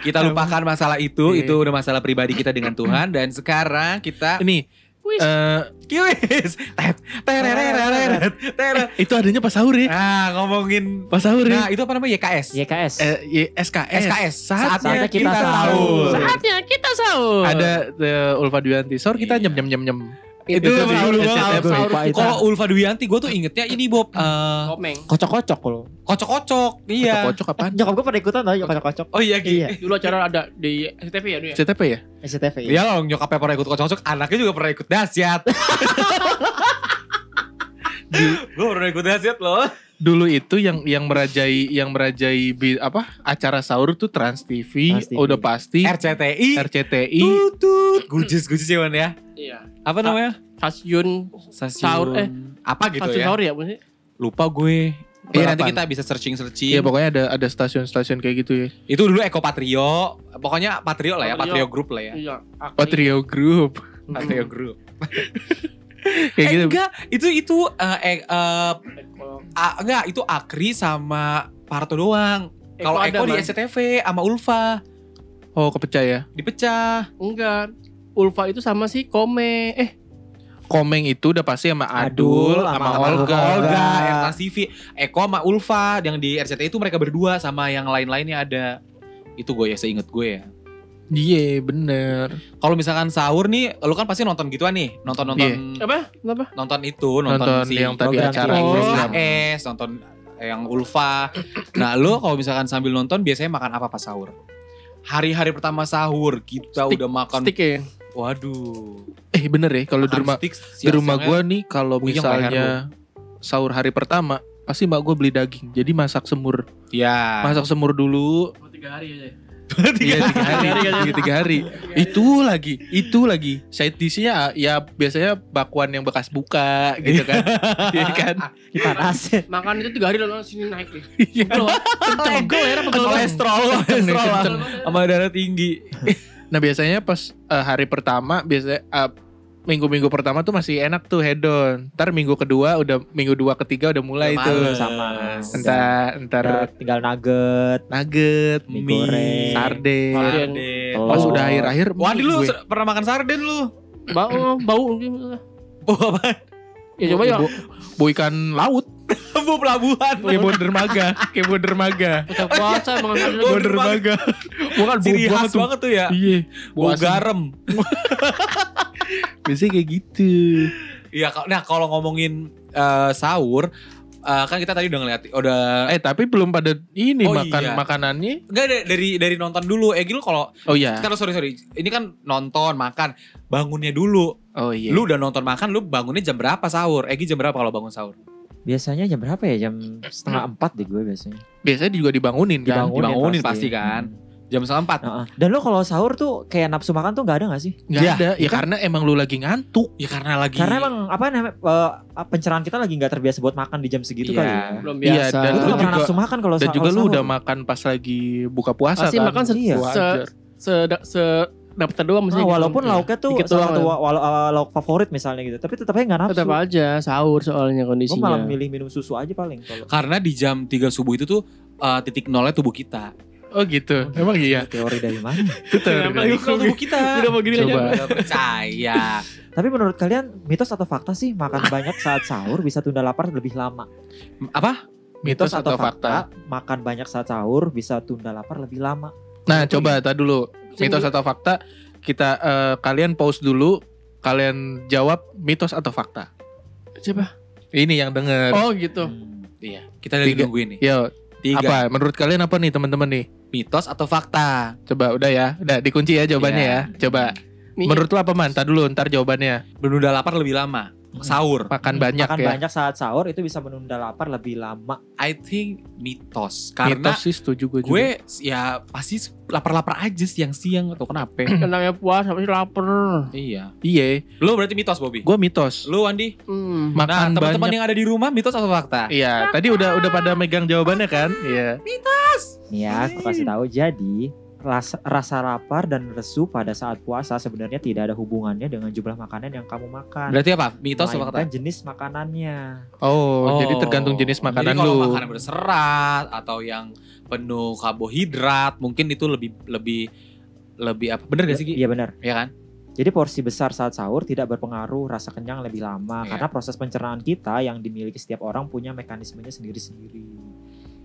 [SPEAKER 1] Kita lupakan masalah itu,
[SPEAKER 2] Iya.
[SPEAKER 1] itu udah masalah pribadi kita dengan Tuhan dan sekarang kita
[SPEAKER 2] Ini
[SPEAKER 4] Wih.
[SPEAKER 2] eh,
[SPEAKER 1] kiwis. Tet, tereret, teret.
[SPEAKER 2] itu adanya pas sahur ya.
[SPEAKER 1] Nah, ngomongin
[SPEAKER 2] Pas sahur
[SPEAKER 1] Nah,
[SPEAKER 2] ya.
[SPEAKER 1] itu apa namanya? YKS.
[SPEAKER 3] YKS.
[SPEAKER 2] Eh, ya, SKS.
[SPEAKER 1] SKS. Saatnya,
[SPEAKER 3] Saatnya
[SPEAKER 1] kita,
[SPEAKER 3] kita
[SPEAKER 1] sahur.
[SPEAKER 3] sahur.
[SPEAKER 4] Saatnya kita sahur.
[SPEAKER 2] Ada eh, Ulfa Dwianti. Sor kita
[SPEAKER 1] Iya.
[SPEAKER 2] nyem nyem nyem nyem.
[SPEAKER 1] Itu,
[SPEAKER 2] Itu
[SPEAKER 1] sahur
[SPEAKER 2] dulu,
[SPEAKER 1] banget.
[SPEAKER 2] Bang.
[SPEAKER 1] Sahur.
[SPEAKER 3] Lupa itu.
[SPEAKER 1] Kalau Ulfa Dwianti gue tuh ingetnya ini Bob eh,
[SPEAKER 4] komeng.
[SPEAKER 3] Kocok-kocok loh. Eh,
[SPEAKER 1] kocok-kocok. Iya.
[SPEAKER 2] Kocok apaan?
[SPEAKER 3] Nyokap gue pada ikutan tau kocok-kocok.
[SPEAKER 1] Oh iya gitu.
[SPEAKER 3] Iya,
[SPEAKER 4] Dulu acara ada di SCTV ya dulu ya.
[SPEAKER 2] CTP ya?
[SPEAKER 3] SCTV.
[SPEAKER 1] Iya loh nyokapnya pernah ikut kocok-kocok, anaknya juga pernah ikut dasyat. gue pernah ikut dasyat loh.
[SPEAKER 2] Dulu itu yang yang merajai yang merajai bi- apa acara sahur tuh Trans TV,
[SPEAKER 3] Trans TV.
[SPEAKER 2] udah pasti
[SPEAKER 1] RCTI.
[SPEAKER 2] RCTI
[SPEAKER 1] Tutut. Gujis, gujis ya Man, ya.
[SPEAKER 4] Iya.
[SPEAKER 1] Apa namanya?
[SPEAKER 4] Stasiun
[SPEAKER 1] Stasiun.
[SPEAKER 4] Sahur, eh.
[SPEAKER 1] Apa gitu
[SPEAKER 4] stasiun
[SPEAKER 1] ya?
[SPEAKER 4] sahur ya maksudnya.
[SPEAKER 1] Lupa gue. Iya nanti
[SPEAKER 2] Balapan.
[SPEAKER 1] kita bisa searching-searching.
[SPEAKER 2] Iya pokoknya ada ada stasiun-stasiun kayak gitu ya.
[SPEAKER 1] Itu dulu Eko Patrio. Pokoknya Patrio lah ya,
[SPEAKER 4] Patrio.
[SPEAKER 1] Patrio Group lah ya.
[SPEAKER 4] Iya. Akri.
[SPEAKER 2] Oh Trio Group
[SPEAKER 4] Hmm.
[SPEAKER 1] Patrio Group.
[SPEAKER 2] kayak
[SPEAKER 1] Eh,
[SPEAKER 2] gitu.
[SPEAKER 1] enggak, itu itu eh, eh, eh,
[SPEAKER 4] Eko.
[SPEAKER 1] a- enggak itu Akri sama Parto doang. Kalau
[SPEAKER 4] ada,
[SPEAKER 1] Eko di
[SPEAKER 4] Man.
[SPEAKER 1] SCTV sama Ulfa
[SPEAKER 2] Oh kepercaya.
[SPEAKER 1] dipecah.
[SPEAKER 4] Enggak. Ulfa itu sama si Kome. Eh,
[SPEAKER 2] Komeng itu udah pasti sama Adul,
[SPEAKER 3] Adul,
[SPEAKER 2] sama
[SPEAKER 3] sama
[SPEAKER 2] Olga.
[SPEAKER 1] Olga, Olga
[SPEAKER 3] Olga.
[SPEAKER 1] yang Trans TV, Eko sama Ulfa yang di RCTI itu mereka berdua sama yang lain-lainnya ada. Itu gue ya seinget gue ya.
[SPEAKER 2] Iya bener.
[SPEAKER 1] Kalau misalkan sahur nih, lu kan pasti nonton gituan nih, nonton-nonton
[SPEAKER 4] apa? Kenapa?
[SPEAKER 1] nonton itu, nonton,
[SPEAKER 2] Iya. Nonton
[SPEAKER 1] si
[SPEAKER 2] yang tadi
[SPEAKER 3] program
[SPEAKER 2] acara
[SPEAKER 4] TV.
[SPEAKER 2] Inggris
[SPEAKER 1] Oh,
[SPEAKER 2] lah.
[SPEAKER 1] AS, nonton yang Ulfa. Nah, lu kalau misalkan sambil nonton biasanya makan apa pas sahur? Hari-hari pertama sahur kita
[SPEAKER 4] Steak-
[SPEAKER 1] udah makan.
[SPEAKER 4] Stick ya.
[SPEAKER 1] Waduh.
[SPEAKER 2] Eh bener ya kalau di
[SPEAKER 1] makan
[SPEAKER 2] rumah
[SPEAKER 1] steak ya?
[SPEAKER 2] di rumah
[SPEAKER 1] siang-siangnya.
[SPEAKER 2] gua nih kalau
[SPEAKER 1] Puyeng
[SPEAKER 2] misalnya sahur hari pertama pasti mbak gua beli daging. Jadi masak semur.
[SPEAKER 1] Ya.
[SPEAKER 2] Masak semur dulu.
[SPEAKER 4] Tiga hari aja.
[SPEAKER 2] Iya Ah. tiga hari. Tiga, tiga hari. Itu lagi, itu lagi. Side dish-nya ya biasanya bakwan yang bekas buka gitu kan. Iya kan?
[SPEAKER 3] Panas.
[SPEAKER 4] Makan itu tiga hari lalu sini naik nih.
[SPEAKER 2] Iya.
[SPEAKER 4] Tercogol ya, apa
[SPEAKER 1] Kolesterol, kolesterol lah. sama darah tinggi.
[SPEAKER 2] Nah biasanya pas eh, hari pertama biasanya eh, minggu-minggu pertama tuh masih enak tuh hedon. Ntar minggu kedua udah minggu dua ketiga udah mulai
[SPEAKER 1] Udah
[SPEAKER 2] tuh.
[SPEAKER 1] males.
[SPEAKER 3] Sama.
[SPEAKER 2] Entar entar
[SPEAKER 3] Udah tinggal nugget,
[SPEAKER 2] nugget,
[SPEAKER 3] mie
[SPEAKER 1] Mie.
[SPEAKER 3] goreng.
[SPEAKER 2] sarden.
[SPEAKER 4] Sarden.
[SPEAKER 1] Sarden.
[SPEAKER 3] Telur.
[SPEAKER 2] Pas udah akhir-akhir mie
[SPEAKER 1] Wadi lu
[SPEAKER 2] gue.
[SPEAKER 1] ser- pernah makan sarden lu?
[SPEAKER 4] Bau, bau.
[SPEAKER 1] Bu apa?
[SPEAKER 4] Ya coba ya.
[SPEAKER 2] Bu, bu ikan laut
[SPEAKER 1] Bu pelabuhan.
[SPEAKER 2] kayak bu dermaga, kayak bu dermaga.
[SPEAKER 4] Udah puasa emang makan
[SPEAKER 2] Bu
[SPEAKER 1] Bu dermaga.
[SPEAKER 2] dermaga. Bukan bu
[SPEAKER 1] Ciri
[SPEAKER 2] buah
[SPEAKER 1] khas
[SPEAKER 2] kan tuh.
[SPEAKER 1] banget tuh ya.
[SPEAKER 2] Iya, bu
[SPEAKER 1] Bu
[SPEAKER 2] asem.
[SPEAKER 1] garam.
[SPEAKER 2] Biasanya kayak gitu.
[SPEAKER 1] Iya, kal- nah kalau ngomongin eh, sahur, eh, kan kita tadi udah ngeliat, udah
[SPEAKER 2] Eh tapi belum pada ini
[SPEAKER 1] Oh,
[SPEAKER 2] makan
[SPEAKER 1] iya.
[SPEAKER 2] makanannya.
[SPEAKER 1] enggak da- dari dari nonton dulu. Eh Gil kalau
[SPEAKER 2] Oh iya.
[SPEAKER 1] kan sorry sorry, ini kan nonton makan bangunnya dulu.
[SPEAKER 2] Oh iya.
[SPEAKER 1] Lu udah nonton makan, lu bangunnya jam berapa sahur? Egi jam berapa kalau bangun sahur?
[SPEAKER 3] Biasanya jam berapa ya? Jam setengah empat deh gue biasanya.
[SPEAKER 2] biasanya juga dibangunin kan.
[SPEAKER 1] Dibangun. dibangunin pasti kan. Jam setengah empat.
[SPEAKER 3] Heeh. Dan lo kalau sahur tuh kayak nafsu makan tuh nggak ada nggak sih?
[SPEAKER 2] Nggak
[SPEAKER 1] Ya,
[SPEAKER 2] ada. Ya karena emang lu lagi ngantuk.
[SPEAKER 1] Ya karena lagi.
[SPEAKER 3] Karena emang apa namanya eh, pencerahan kita lagi nggak terbiasa buat makan di jam segitu
[SPEAKER 1] Iya.
[SPEAKER 3] kali. Ya.
[SPEAKER 4] Belum
[SPEAKER 2] Iya,
[SPEAKER 4] biasa.
[SPEAKER 2] dan lu
[SPEAKER 3] Gue tuh nggak pernah
[SPEAKER 2] juga-
[SPEAKER 3] nafsu makan kalau
[SPEAKER 2] Dan
[SPEAKER 3] sa-
[SPEAKER 2] juga
[SPEAKER 3] kalau
[SPEAKER 2] lu
[SPEAKER 3] sahur.
[SPEAKER 2] udah makan pas lagi buka puasa
[SPEAKER 4] Pasti
[SPEAKER 2] kan.
[SPEAKER 4] makan se-
[SPEAKER 3] Iya.
[SPEAKER 2] Wajar.
[SPEAKER 4] se se dapat
[SPEAKER 3] Nah,
[SPEAKER 4] doang
[SPEAKER 2] kan?
[SPEAKER 4] maksudnya. gitu.
[SPEAKER 2] Iya.
[SPEAKER 3] walaupun lauknya tuh
[SPEAKER 4] Dikit
[SPEAKER 3] salah
[SPEAKER 4] doang
[SPEAKER 3] satu
[SPEAKER 4] lah.
[SPEAKER 3] wa- wala- uh, lauk favorit misalnya gitu, tapi tetap aja nggak nafsu.
[SPEAKER 4] tetap aja sahur soalnya
[SPEAKER 3] Gue malah
[SPEAKER 2] iya.
[SPEAKER 4] kondisinya.
[SPEAKER 3] milih minum susu aja paling. Kalau
[SPEAKER 1] Karena di jam 3 subuh itu tuh eh, titik nolnya tubuh kita.
[SPEAKER 2] Oh gitu. Emang iya.
[SPEAKER 3] teori dari mana?
[SPEAKER 2] Itu teori
[SPEAKER 4] Kenapa
[SPEAKER 2] dari-
[SPEAKER 4] yuk?
[SPEAKER 1] Titik nol tubuh kita.
[SPEAKER 4] Udah mau gini
[SPEAKER 2] Coba.
[SPEAKER 4] aja.
[SPEAKER 1] Gak percaya.
[SPEAKER 3] tapi menurut kalian mitos atau fakta sih makan banyak saat sahur bisa tunda lapar lebih lama?
[SPEAKER 1] Apa?
[SPEAKER 2] Mitos atau fakta?
[SPEAKER 3] Makan banyak saat sahur bisa tunda lapar lebih lama.
[SPEAKER 2] Nah coba tadi dulu. Mitos atau fakta. Kita eh, kalian pause dulu. Kalian jawab mitos atau fakta.
[SPEAKER 4] Coba.
[SPEAKER 2] Ini yang denger.
[SPEAKER 4] Oh gitu.
[SPEAKER 3] Hmm.
[SPEAKER 1] Iya. Kita lagi
[SPEAKER 2] Tiga.
[SPEAKER 1] nungguin nih.
[SPEAKER 2] Yo,
[SPEAKER 1] Tiga.
[SPEAKER 2] apa menurut kalian apa nih teman-teman nih?
[SPEAKER 1] Mitos atau fakta?
[SPEAKER 2] Coba udah ya, udah dikunci ya jawabannya
[SPEAKER 1] Iya.
[SPEAKER 2] ya. Coba.
[SPEAKER 4] Mi-
[SPEAKER 2] Menurut lu apa man? Tadi dulu ntar jawabannya.
[SPEAKER 1] Menunda lapar lebih lama.
[SPEAKER 2] Hmm.
[SPEAKER 1] sahur.
[SPEAKER 2] makan banyak
[SPEAKER 3] Makan
[SPEAKER 2] ya.
[SPEAKER 3] banyak saat sahur itu bisa menunda lapar lebih lama.
[SPEAKER 1] I think mitos karena
[SPEAKER 2] Mitos sih setuju gue juga.
[SPEAKER 1] gue ya pasti lapar-lapar aja siang-siang atau kenapa? ya?
[SPEAKER 4] Kenapa puas apa sih lapar?
[SPEAKER 1] iya.
[SPEAKER 2] Iya,
[SPEAKER 1] Lo berarti mitos Bobby.
[SPEAKER 2] gue mitos.
[SPEAKER 1] Lo Andi.
[SPEAKER 4] Hmm.
[SPEAKER 1] Nah,
[SPEAKER 2] Makan
[SPEAKER 1] teman-teman
[SPEAKER 2] banyak.
[SPEAKER 1] yang ada di rumah mitos atau fakta?
[SPEAKER 2] Iya, tadi udah udah pada megang jawabannya kan? Iya.
[SPEAKER 3] Nih ya, aku kasih tahu. Jadi rasa, rasa lapar dan lesu pada saat puasa sebenarnya tidak ada hubungannya dengan jumlah makanan yang kamu
[SPEAKER 2] Iya.
[SPEAKER 3] makan.
[SPEAKER 1] Berarti apa? Mitos atau fakta?
[SPEAKER 3] Melainkan jenis makanannya.
[SPEAKER 2] Oh, jadi tergantung jenis makanan
[SPEAKER 1] jadi kalau
[SPEAKER 2] lu.
[SPEAKER 1] makanan berserat atau yang penuh karbohidrat, mungkin itu lebih lebih lebih apa? Bener gak sih? Ki?
[SPEAKER 3] Iya benar.
[SPEAKER 1] Iya kan?
[SPEAKER 3] Jadi porsi besar saat sahur tidak berpengaruh rasa kenyang lebih lama
[SPEAKER 1] Iya.
[SPEAKER 3] karena proses pencernaan kita yang dimiliki setiap orang punya mekanismenya sendiri-sendiri.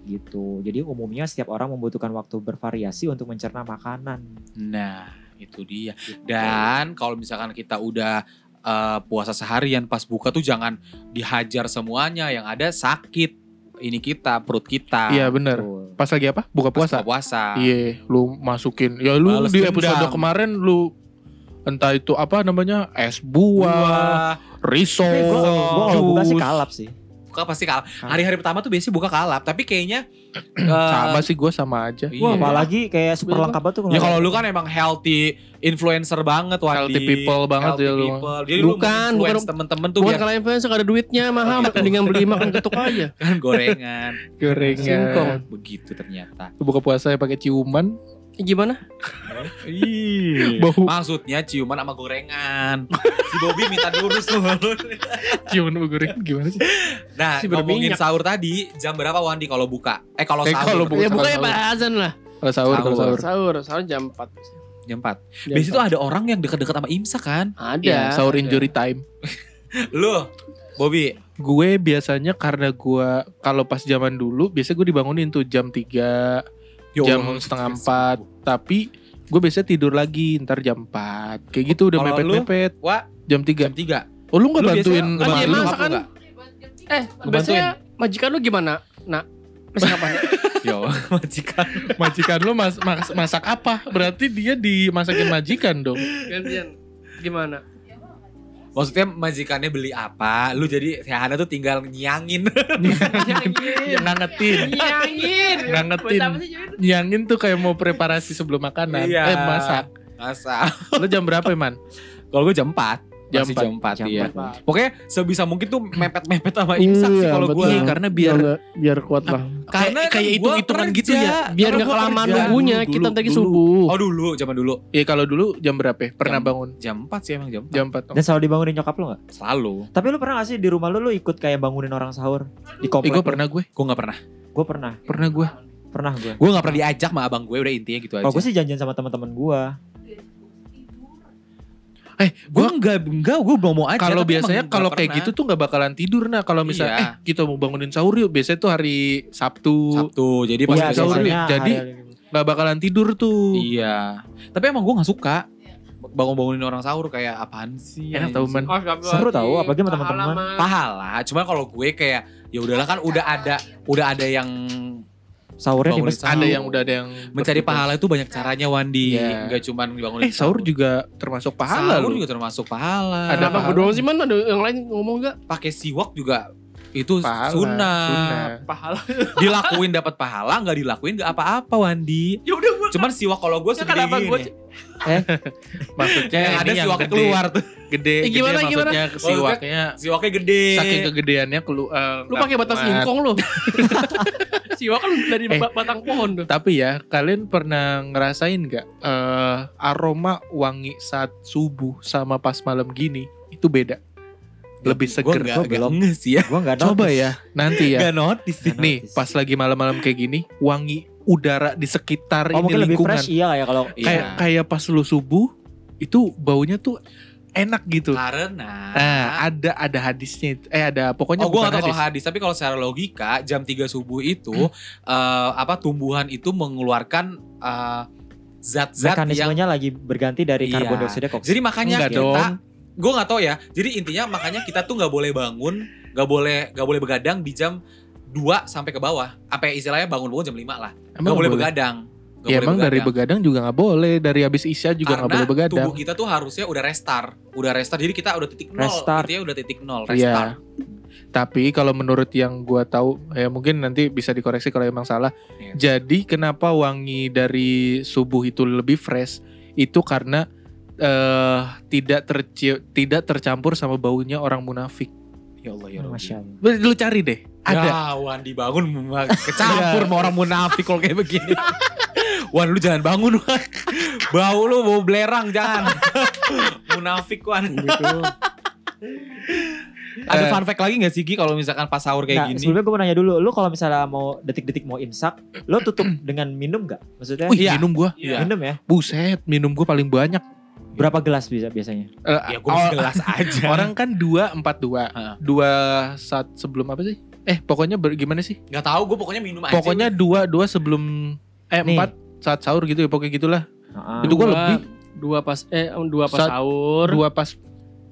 [SPEAKER 3] Gitu. Jadi umumnya setiap orang membutuhkan waktu bervariasi untuk mencerna makanan. Gitu.
[SPEAKER 1] Nah, itu dia. Dan kalau misalkan kita udah eh, puasa seharian pas buka tuh jangan dihajar semuanya yang ada sakit ini kita perut kita.
[SPEAKER 2] Iya benar.
[SPEAKER 3] Betul.
[SPEAKER 2] Pas lagi apa? Buka
[SPEAKER 1] Pas
[SPEAKER 2] puasa.
[SPEAKER 1] buka puasa.
[SPEAKER 2] Iya, lu masukin. Ya lu
[SPEAKER 1] Bales
[SPEAKER 2] di episode
[SPEAKER 1] dendam.
[SPEAKER 2] kemarin lu entah itu apa namanya es buah,
[SPEAKER 1] Buah.
[SPEAKER 2] Eh,
[SPEAKER 3] Tapi gua-
[SPEAKER 2] risol,
[SPEAKER 3] gua kalau buka sih
[SPEAKER 2] jus.
[SPEAKER 3] kalap sih.
[SPEAKER 1] Buka pasti kalap. Hari-hari pertama tuh biasanya buka kalap, tapi kayaknya eh,
[SPEAKER 2] sama sih gue sama aja.
[SPEAKER 1] Iya.
[SPEAKER 3] Wah, apalagi kayak super
[SPEAKER 4] Iya.
[SPEAKER 3] lengkap banget tuh.
[SPEAKER 1] Ya kalau lu kan emang healthy influencer banget Wadi.
[SPEAKER 2] Healthy people banget
[SPEAKER 1] healthy
[SPEAKER 2] ya lu.
[SPEAKER 1] people. Jadi lu
[SPEAKER 4] Bukan,
[SPEAKER 1] influence
[SPEAKER 4] bukan-
[SPEAKER 1] temen-temen tuh
[SPEAKER 4] Bukan
[SPEAKER 1] biar
[SPEAKER 4] kalau influencer ada duitnya mahal, mendingan beli makan ketuk aja.
[SPEAKER 1] kan gorengan.
[SPEAKER 4] Singkong.
[SPEAKER 2] Gorengan.
[SPEAKER 1] Begitu ternyata.
[SPEAKER 2] Buka puasa pakai ciuman,
[SPEAKER 4] Gimana?
[SPEAKER 1] Ih.
[SPEAKER 2] bau
[SPEAKER 1] Maksudnya ciuman sama gorengan. si Bobby minta diurus tuh.
[SPEAKER 2] ciuman bau goreng gimana sih?
[SPEAKER 1] Nah,
[SPEAKER 4] Si
[SPEAKER 1] ngomongin
[SPEAKER 4] berminyak.
[SPEAKER 1] sahur tadi, jam berapa Wandi kalau buka? Eh kalau
[SPEAKER 2] Eh,
[SPEAKER 1] sahur.
[SPEAKER 2] kalau buka.
[SPEAKER 4] Ya
[SPEAKER 2] Sahur,
[SPEAKER 4] bukannya
[SPEAKER 2] sahur.
[SPEAKER 4] Pak Azan lah.
[SPEAKER 2] Kalau sahur, kalau
[SPEAKER 1] Sahur.
[SPEAKER 2] sahur.
[SPEAKER 4] Sahur, sahur jam 4.
[SPEAKER 1] Jam 4.
[SPEAKER 4] Jam
[SPEAKER 1] Biasanya tuh
[SPEAKER 4] 4.
[SPEAKER 1] ada orang yang deket-deket sama imsak kan?
[SPEAKER 4] ada.
[SPEAKER 2] Iya, sahur
[SPEAKER 4] ada.
[SPEAKER 2] injury time.
[SPEAKER 1] Lu, Bobby,
[SPEAKER 2] Gue biasanya karena gue kalau pas zaman dulu biasanya gue dibangunin tuh jam 3
[SPEAKER 1] Ya
[SPEAKER 2] jam
[SPEAKER 1] Allah,
[SPEAKER 2] setengah
[SPEAKER 1] stres.
[SPEAKER 2] 4 tapi gue biasanya tidur lagi ntar jam 4 kayak gitu udah
[SPEAKER 1] Kalau
[SPEAKER 2] mepet mepet
[SPEAKER 1] lu, Wak?
[SPEAKER 2] jam 3
[SPEAKER 1] jam 3.
[SPEAKER 2] oh lu nggak
[SPEAKER 1] Lu
[SPEAKER 2] bantuin
[SPEAKER 1] biasanya- Iya,
[SPEAKER 2] emak
[SPEAKER 4] Kan dia
[SPEAKER 2] lu?
[SPEAKER 4] masak kan? Eh,
[SPEAKER 1] Ngebantuin.
[SPEAKER 4] biasanya majikan lu gimana? Nah, Masih ngapain?
[SPEAKER 1] Ya Allah, majikan.
[SPEAKER 2] majikan lu mas- mas- masak apa berarti dia dimasakin majikan dong
[SPEAKER 4] Gantian. Gimana?
[SPEAKER 5] Iya,
[SPEAKER 1] Maksudnya majikannya beli apa? Lu jadi Sehana tuh tinggal nyiangin.
[SPEAKER 4] Nyangin.
[SPEAKER 2] ngangetin
[SPEAKER 4] Nyangin.
[SPEAKER 2] Ngangetin.
[SPEAKER 4] Buat apa sih, Jun?
[SPEAKER 2] nyangin tuh kayak mau preparasi sebelum makanan
[SPEAKER 1] Iya.
[SPEAKER 2] eh masak
[SPEAKER 1] Masa.
[SPEAKER 2] lu jam berapa man
[SPEAKER 1] Kalau gue jam 4.
[SPEAKER 2] Jam
[SPEAKER 1] Masih
[SPEAKER 2] empat.
[SPEAKER 1] jam 4,
[SPEAKER 3] Jam
[SPEAKER 1] iya.
[SPEAKER 3] empat.
[SPEAKER 1] Pokoknya sebisa mungkin tuh mepet-mepet sama imsak sih
[SPEAKER 6] Iya,
[SPEAKER 1] kalau gue.
[SPEAKER 6] betul.
[SPEAKER 2] iya karena biar
[SPEAKER 6] biar kuat lah.
[SPEAKER 1] Karena
[SPEAKER 2] kayak kayak
[SPEAKER 1] kan
[SPEAKER 2] hitung
[SPEAKER 1] gua
[SPEAKER 2] hitungan
[SPEAKER 1] kerja.
[SPEAKER 2] gitu ya
[SPEAKER 4] Biar
[SPEAKER 1] Karena
[SPEAKER 4] nggak
[SPEAKER 1] gua
[SPEAKER 4] kelamaan
[SPEAKER 1] kerja.
[SPEAKER 4] nunggunya,
[SPEAKER 2] Dulu,
[SPEAKER 4] kita
[SPEAKER 2] dulu,
[SPEAKER 4] tadi
[SPEAKER 2] dulu.
[SPEAKER 4] subuh.
[SPEAKER 1] Oh dulu, zaman dulu.
[SPEAKER 2] ya kalau dulu jam berapa ya? pernah
[SPEAKER 1] Jam-
[SPEAKER 2] bangun
[SPEAKER 1] Jam 4 sih emang jam 4.
[SPEAKER 2] jam 4
[SPEAKER 3] Dan selalu dibangunin nyokap lu gak?
[SPEAKER 1] Selalu.
[SPEAKER 3] Tapi lu pernah gak sih di rumah lu lu ikut kayak bangunin orang sahur?
[SPEAKER 2] eh
[SPEAKER 3] Di komplek.
[SPEAKER 2] gue pernah gue
[SPEAKER 1] Gue gak pernah.
[SPEAKER 3] Gue pernah,
[SPEAKER 2] pernah gue
[SPEAKER 3] pernah gue.
[SPEAKER 1] Gue gak pernah diajak sama abang gue udah intinya
[SPEAKER 2] Oh,
[SPEAKER 1] gitu aja.
[SPEAKER 3] Kalau gue sih janjian sama teman-teman gue.
[SPEAKER 2] eh
[SPEAKER 1] Gue
[SPEAKER 2] gue
[SPEAKER 1] enggak, enggak, gue mau mau aja.
[SPEAKER 2] Kalau
[SPEAKER 1] tapi
[SPEAKER 2] biasanya
[SPEAKER 1] emang
[SPEAKER 2] kalau
[SPEAKER 1] nggak
[SPEAKER 2] kayak
[SPEAKER 1] pernah.
[SPEAKER 2] gitu tuh nggak bakalan tidur nah kalau misalnya
[SPEAKER 1] Iya.
[SPEAKER 2] eh kita mau bangunin sahur yuk biasanya tuh hari Sabtu
[SPEAKER 1] Sabtu, jadi pas
[SPEAKER 2] Iya,
[SPEAKER 1] besok
[SPEAKER 2] sahur
[SPEAKER 1] hari-
[SPEAKER 2] ya. Jadi- nggak bakalan tidur tuh.
[SPEAKER 1] Iya. Tapi emang gue gak suka bangun-bangunin orang sahur kayak apaan Iya, sih?
[SPEAKER 2] Enak
[SPEAKER 1] anjing?
[SPEAKER 2] tau man.
[SPEAKER 3] Seru tahu, apalagi sama teman-teman.
[SPEAKER 1] Pahala. Cuman kalau gue kayak ya udahlah kan udah ada udah ada yang
[SPEAKER 3] sahurnya di
[SPEAKER 1] Bangunin
[SPEAKER 3] masjid.
[SPEAKER 2] Ada yang udah ada yang
[SPEAKER 1] Mencari pahala itu banyak caranya Wandi,
[SPEAKER 2] Iya.
[SPEAKER 1] nggak cuman bangun
[SPEAKER 2] Eh sahur juga termasuk pahala
[SPEAKER 1] Sahur
[SPEAKER 2] loh.
[SPEAKER 1] juga termasuk pahala.
[SPEAKER 2] Ada
[SPEAKER 4] Kenapa
[SPEAKER 2] pahala.
[SPEAKER 4] gue doang sih man? Ada yang lain ngomong gak?
[SPEAKER 1] pakai siwak juga itu
[SPEAKER 2] Pahala,
[SPEAKER 1] sunnah.
[SPEAKER 2] sunnah.
[SPEAKER 4] Pahala.
[SPEAKER 1] Dilakuin dapat pahala, nggak dilakuin nggak apa-apa Wandi.
[SPEAKER 4] Ya udah gue.
[SPEAKER 1] Cuman siwak kalau gue
[SPEAKER 4] Ya
[SPEAKER 1] segede
[SPEAKER 4] kenapa
[SPEAKER 1] gini.
[SPEAKER 4] gue?
[SPEAKER 2] Maksudnya
[SPEAKER 1] Kayak ada
[SPEAKER 2] ini yang
[SPEAKER 1] siwaknya
[SPEAKER 2] gede,
[SPEAKER 1] keluar tuh.
[SPEAKER 2] Gede,
[SPEAKER 4] Eh, gimana,
[SPEAKER 2] gede
[SPEAKER 4] gimana?
[SPEAKER 2] maksudnya siwaknya
[SPEAKER 1] Siwaknya gede.
[SPEAKER 2] saking kegedeannya eh, keluar.
[SPEAKER 4] Lu pakai batang singkong lu. Siwa kan dari
[SPEAKER 2] Eh.
[SPEAKER 4] ba- batang pohon tuh.
[SPEAKER 2] Tapi ya kalian pernah ngerasain nggak eh, aroma wangi saat subuh sama pas malam gini itu beda. Lebih
[SPEAKER 1] Gue
[SPEAKER 2] seger.
[SPEAKER 1] Ya, nggak
[SPEAKER 3] Gua
[SPEAKER 1] nggak
[SPEAKER 3] belum.
[SPEAKER 1] nge sih ya.
[SPEAKER 3] Gue gak
[SPEAKER 2] Coba ya nanti ya.
[SPEAKER 1] Nggak notice sih.
[SPEAKER 3] Nggak
[SPEAKER 2] Nih
[SPEAKER 3] notice.
[SPEAKER 2] pas lagi malam-malam kayak gini wangi udara di sekitar ini
[SPEAKER 3] Oh mungkin lebih
[SPEAKER 2] lingkungan
[SPEAKER 3] fresh iya ya kalau
[SPEAKER 2] kayak kayak pas lu subuh itu baunya tuh enak gitu.
[SPEAKER 1] Ah. Karena.
[SPEAKER 2] Nah, ada ada hadisnya itu. eh ada pokoknya
[SPEAKER 1] Oh gue
[SPEAKER 2] bukan
[SPEAKER 1] gak tau
[SPEAKER 2] hadis. Hmm.
[SPEAKER 1] kalau hadis Tapi kalau secara logika Jam 3 subuh itu eh, Apa tumbuhan itu mengeluarkan eh, Zat-zat yang
[SPEAKER 3] mekanismenya lagi berganti dari
[SPEAKER 1] Iya.
[SPEAKER 3] karbon dioksida
[SPEAKER 1] Jadi
[SPEAKER 3] ke oksigen.
[SPEAKER 1] makanya
[SPEAKER 2] Enggak
[SPEAKER 1] kita
[SPEAKER 2] dong.
[SPEAKER 1] Gue gak tau ya Jadi intinya makanya kita tuh gak boleh bangun Gak boleh gak boleh begadang di jam 2 sampai ke bawah Apa ya, istilahnya bangun-bangun jam 5 lah Gak
[SPEAKER 2] Emang
[SPEAKER 1] boleh
[SPEAKER 2] boleh?
[SPEAKER 1] begadang Nggak
[SPEAKER 2] ya
[SPEAKER 1] boleh
[SPEAKER 2] emang dari
[SPEAKER 1] begadang.
[SPEAKER 2] begadang juga nggak boleh, dari habis isya juga nggak
[SPEAKER 1] Karena
[SPEAKER 2] boleh begadang.
[SPEAKER 1] tubuh kita tuh harusnya udah restart, udah restart. Jadi kita udah titik nol,
[SPEAKER 3] Restart.
[SPEAKER 1] intinya udah titik nol, restart.
[SPEAKER 2] Iya. Tapi kalau menurut yang gua tahu, ya mungkin nanti bisa dikoreksi kalau emang salah.
[SPEAKER 1] Iya.
[SPEAKER 2] Jadi kenapa wangi dari subuh itu lebih fresh? Itu karena eh tidak terci- tidak tercampur sama baunya orang munafik.
[SPEAKER 1] Ya Allah
[SPEAKER 2] Iya,
[SPEAKER 1] ya Rabbi.
[SPEAKER 3] Masya Allah.
[SPEAKER 2] Lu cari deh, ada. Iya.
[SPEAKER 1] Ya, Wan dibangun kecampur sama orang munafik kalau kayak begini. Wan lu jangan bangun Wan. Bau lu bau belerang jangan. munafik Wan. Ada
[SPEAKER 2] Eh.
[SPEAKER 1] fun fact lagi gak sih Gi kalau misalkan pas sahur
[SPEAKER 3] Nah,
[SPEAKER 2] gitu.
[SPEAKER 1] kayak gini?
[SPEAKER 3] sebelumnya gue mau nanya dulu, lu kalau misalnya mau detik-detik mau imsak, lu tutup dengan minum gak? Maksudnya
[SPEAKER 2] Wih,
[SPEAKER 1] Iya.
[SPEAKER 2] minum gua.
[SPEAKER 1] Iya.
[SPEAKER 3] minum ya?
[SPEAKER 2] Buset, minum gua paling banyak.
[SPEAKER 3] Berapa gelas bisa biasanya?
[SPEAKER 2] Eh,
[SPEAKER 1] Ya gue mesti
[SPEAKER 2] oh,
[SPEAKER 1] gelas aja.
[SPEAKER 2] Orang kan dua empat dua,
[SPEAKER 1] Heeh.
[SPEAKER 2] dua saat sebelum apa sih? Eh pokoknya ber- gimana sih?
[SPEAKER 1] Gak tahu gue pokoknya minum aja.
[SPEAKER 2] Pokoknya dua dua sebelum eh
[SPEAKER 3] Nih.
[SPEAKER 2] empat saat sahur gitu ya pokoknya gitulah.
[SPEAKER 3] Heeh.
[SPEAKER 2] Itu gua
[SPEAKER 4] Dua.
[SPEAKER 2] lebih
[SPEAKER 4] dua pas eh dua pas
[SPEAKER 2] Sat-
[SPEAKER 4] sahur,
[SPEAKER 2] dua pas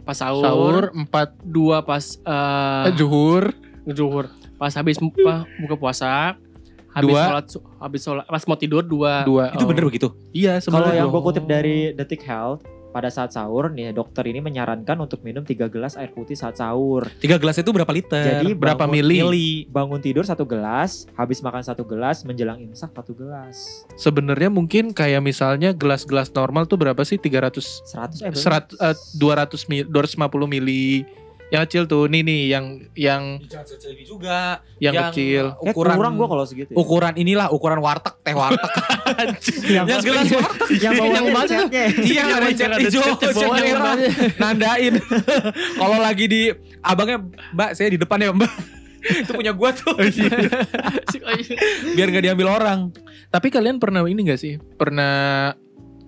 [SPEAKER 4] pas sahur,
[SPEAKER 2] sahur empat
[SPEAKER 4] dua pas eh
[SPEAKER 1] Ah.
[SPEAKER 2] eh, zuhur
[SPEAKER 4] zuhur, pas habis mu- pa- buka puasa, habis
[SPEAKER 2] Dua.
[SPEAKER 4] sholat su- habis sholat pas mau tidur dua.
[SPEAKER 2] dua.
[SPEAKER 1] Ah. Itu
[SPEAKER 2] Oh.
[SPEAKER 1] bener begitu?
[SPEAKER 2] Iya
[SPEAKER 3] Kalau
[SPEAKER 2] sebenarnya
[SPEAKER 3] yang
[SPEAKER 2] dua.
[SPEAKER 3] gue kutip dari Detik Health, pada saat sahur nih dokter ini menyarankan untuk minum 3 gelas air putih saat sahur.
[SPEAKER 1] Tiga gelas itu Eh, berapa liter?
[SPEAKER 3] Jadi
[SPEAKER 2] berapa
[SPEAKER 3] bangun-
[SPEAKER 2] mili?
[SPEAKER 3] Bangun tidur satu gelas, habis makan satu gelas, menjelang imsak satu gelas.
[SPEAKER 2] Sebenarnya mungkin kayak misalnya gelas-gelas normal tuh berapa sih? 300
[SPEAKER 3] 100 eh, berapa?
[SPEAKER 2] 100 eh, 200 mil, 250 mili. Yang kecil tuh nih nih yang yang
[SPEAKER 1] Jangan kecil juga.
[SPEAKER 2] yang, kecil.
[SPEAKER 3] Kayak
[SPEAKER 1] Ukuran Oh,
[SPEAKER 3] kurang gue kalau segitu. ya.
[SPEAKER 1] ukuran inilah ukuran warteg teh warteg
[SPEAKER 3] yang,
[SPEAKER 1] yang gelas warteg
[SPEAKER 3] yang bawahnya
[SPEAKER 4] yang
[SPEAKER 3] ada
[SPEAKER 4] banyak.
[SPEAKER 3] catnya.
[SPEAKER 1] iya yang ada cat hijau cat
[SPEAKER 4] bawahnya
[SPEAKER 1] merah nandain kalau lagi di abangnya mbak saya di depan ya mbak itu punya gua tuh biar nggak diambil orang
[SPEAKER 2] Tapi kalian pernah ini gak sih? Pernah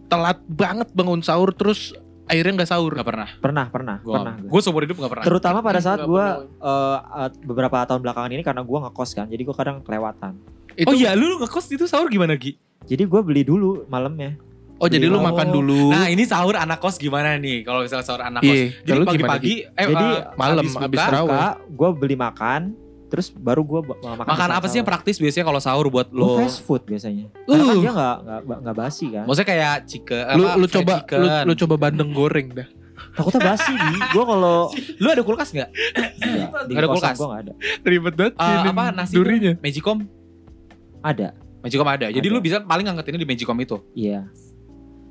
[SPEAKER 2] telat banget bangun sahur terus akhirnya nggak sahur.
[SPEAKER 1] nggak pernah
[SPEAKER 3] Pernah, pernah, pernah.
[SPEAKER 1] gua
[SPEAKER 3] gua.
[SPEAKER 1] gua seumur hidup nggak pernah
[SPEAKER 3] Terutama pada saat
[SPEAKER 4] Nggak
[SPEAKER 3] gue beberapa tahun belakangan ini karena gue ngekos kan, jadi gue kadang kelewatan.
[SPEAKER 2] Itu
[SPEAKER 1] oh iya lu ngekos itu sahur gimana Gi
[SPEAKER 3] Jadi gue beli dulu malamnya.
[SPEAKER 2] Oh jadi lu
[SPEAKER 1] Oh.
[SPEAKER 2] makan dulu.
[SPEAKER 1] nah ini sahur anak kos gimana nih kalau misalnya sahur anak kos
[SPEAKER 2] Iya,
[SPEAKER 1] jadi
[SPEAKER 2] lalu gimana, Ki?
[SPEAKER 1] pagi-pagi eh,
[SPEAKER 3] Jadi,
[SPEAKER 1] eh,
[SPEAKER 2] malam,
[SPEAKER 1] habis
[SPEAKER 2] habis
[SPEAKER 1] buka,
[SPEAKER 2] terawih.
[SPEAKER 3] Buka, gue beli makan, terus baru gue makan.
[SPEAKER 1] makan apa sih yang praktis biasanya kalau sahur buat
[SPEAKER 3] Lo
[SPEAKER 1] lo
[SPEAKER 3] fast food biasanya. Karena kan
[SPEAKER 2] Uh.
[SPEAKER 3] dia nggak nggak nggak basi kan.
[SPEAKER 1] maksudnya kayak chicken
[SPEAKER 2] lu
[SPEAKER 1] apa, kan?
[SPEAKER 2] lu
[SPEAKER 1] fried
[SPEAKER 2] coba lu,
[SPEAKER 1] chicken.
[SPEAKER 2] lu coba bandeng goreng dah.
[SPEAKER 3] Takutnya basi di. Gue kalau
[SPEAKER 1] lu ada kulkas nggak
[SPEAKER 3] Nggak, di
[SPEAKER 1] Ada
[SPEAKER 3] kosan
[SPEAKER 1] kulkas?
[SPEAKER 3] Gue nggak ada.
[SPEAKER 2] Ribet banget.
[SPEAKER 1] Eh,
[SPEAKER 2] ini
[SPEAKER 1] apa nasi
[SPEAKER 2] durinya.
[SPEAKER 1] magicom
[SPEAKER 3] Ada.
[SPEAKER 1] Magicom ada. Jadi
[SPEAKER 3] Ada.
[SPEAKER 1] lu bisa paling ngangkatinnya di Magicom itu.
[SPEAKER 3] Iya.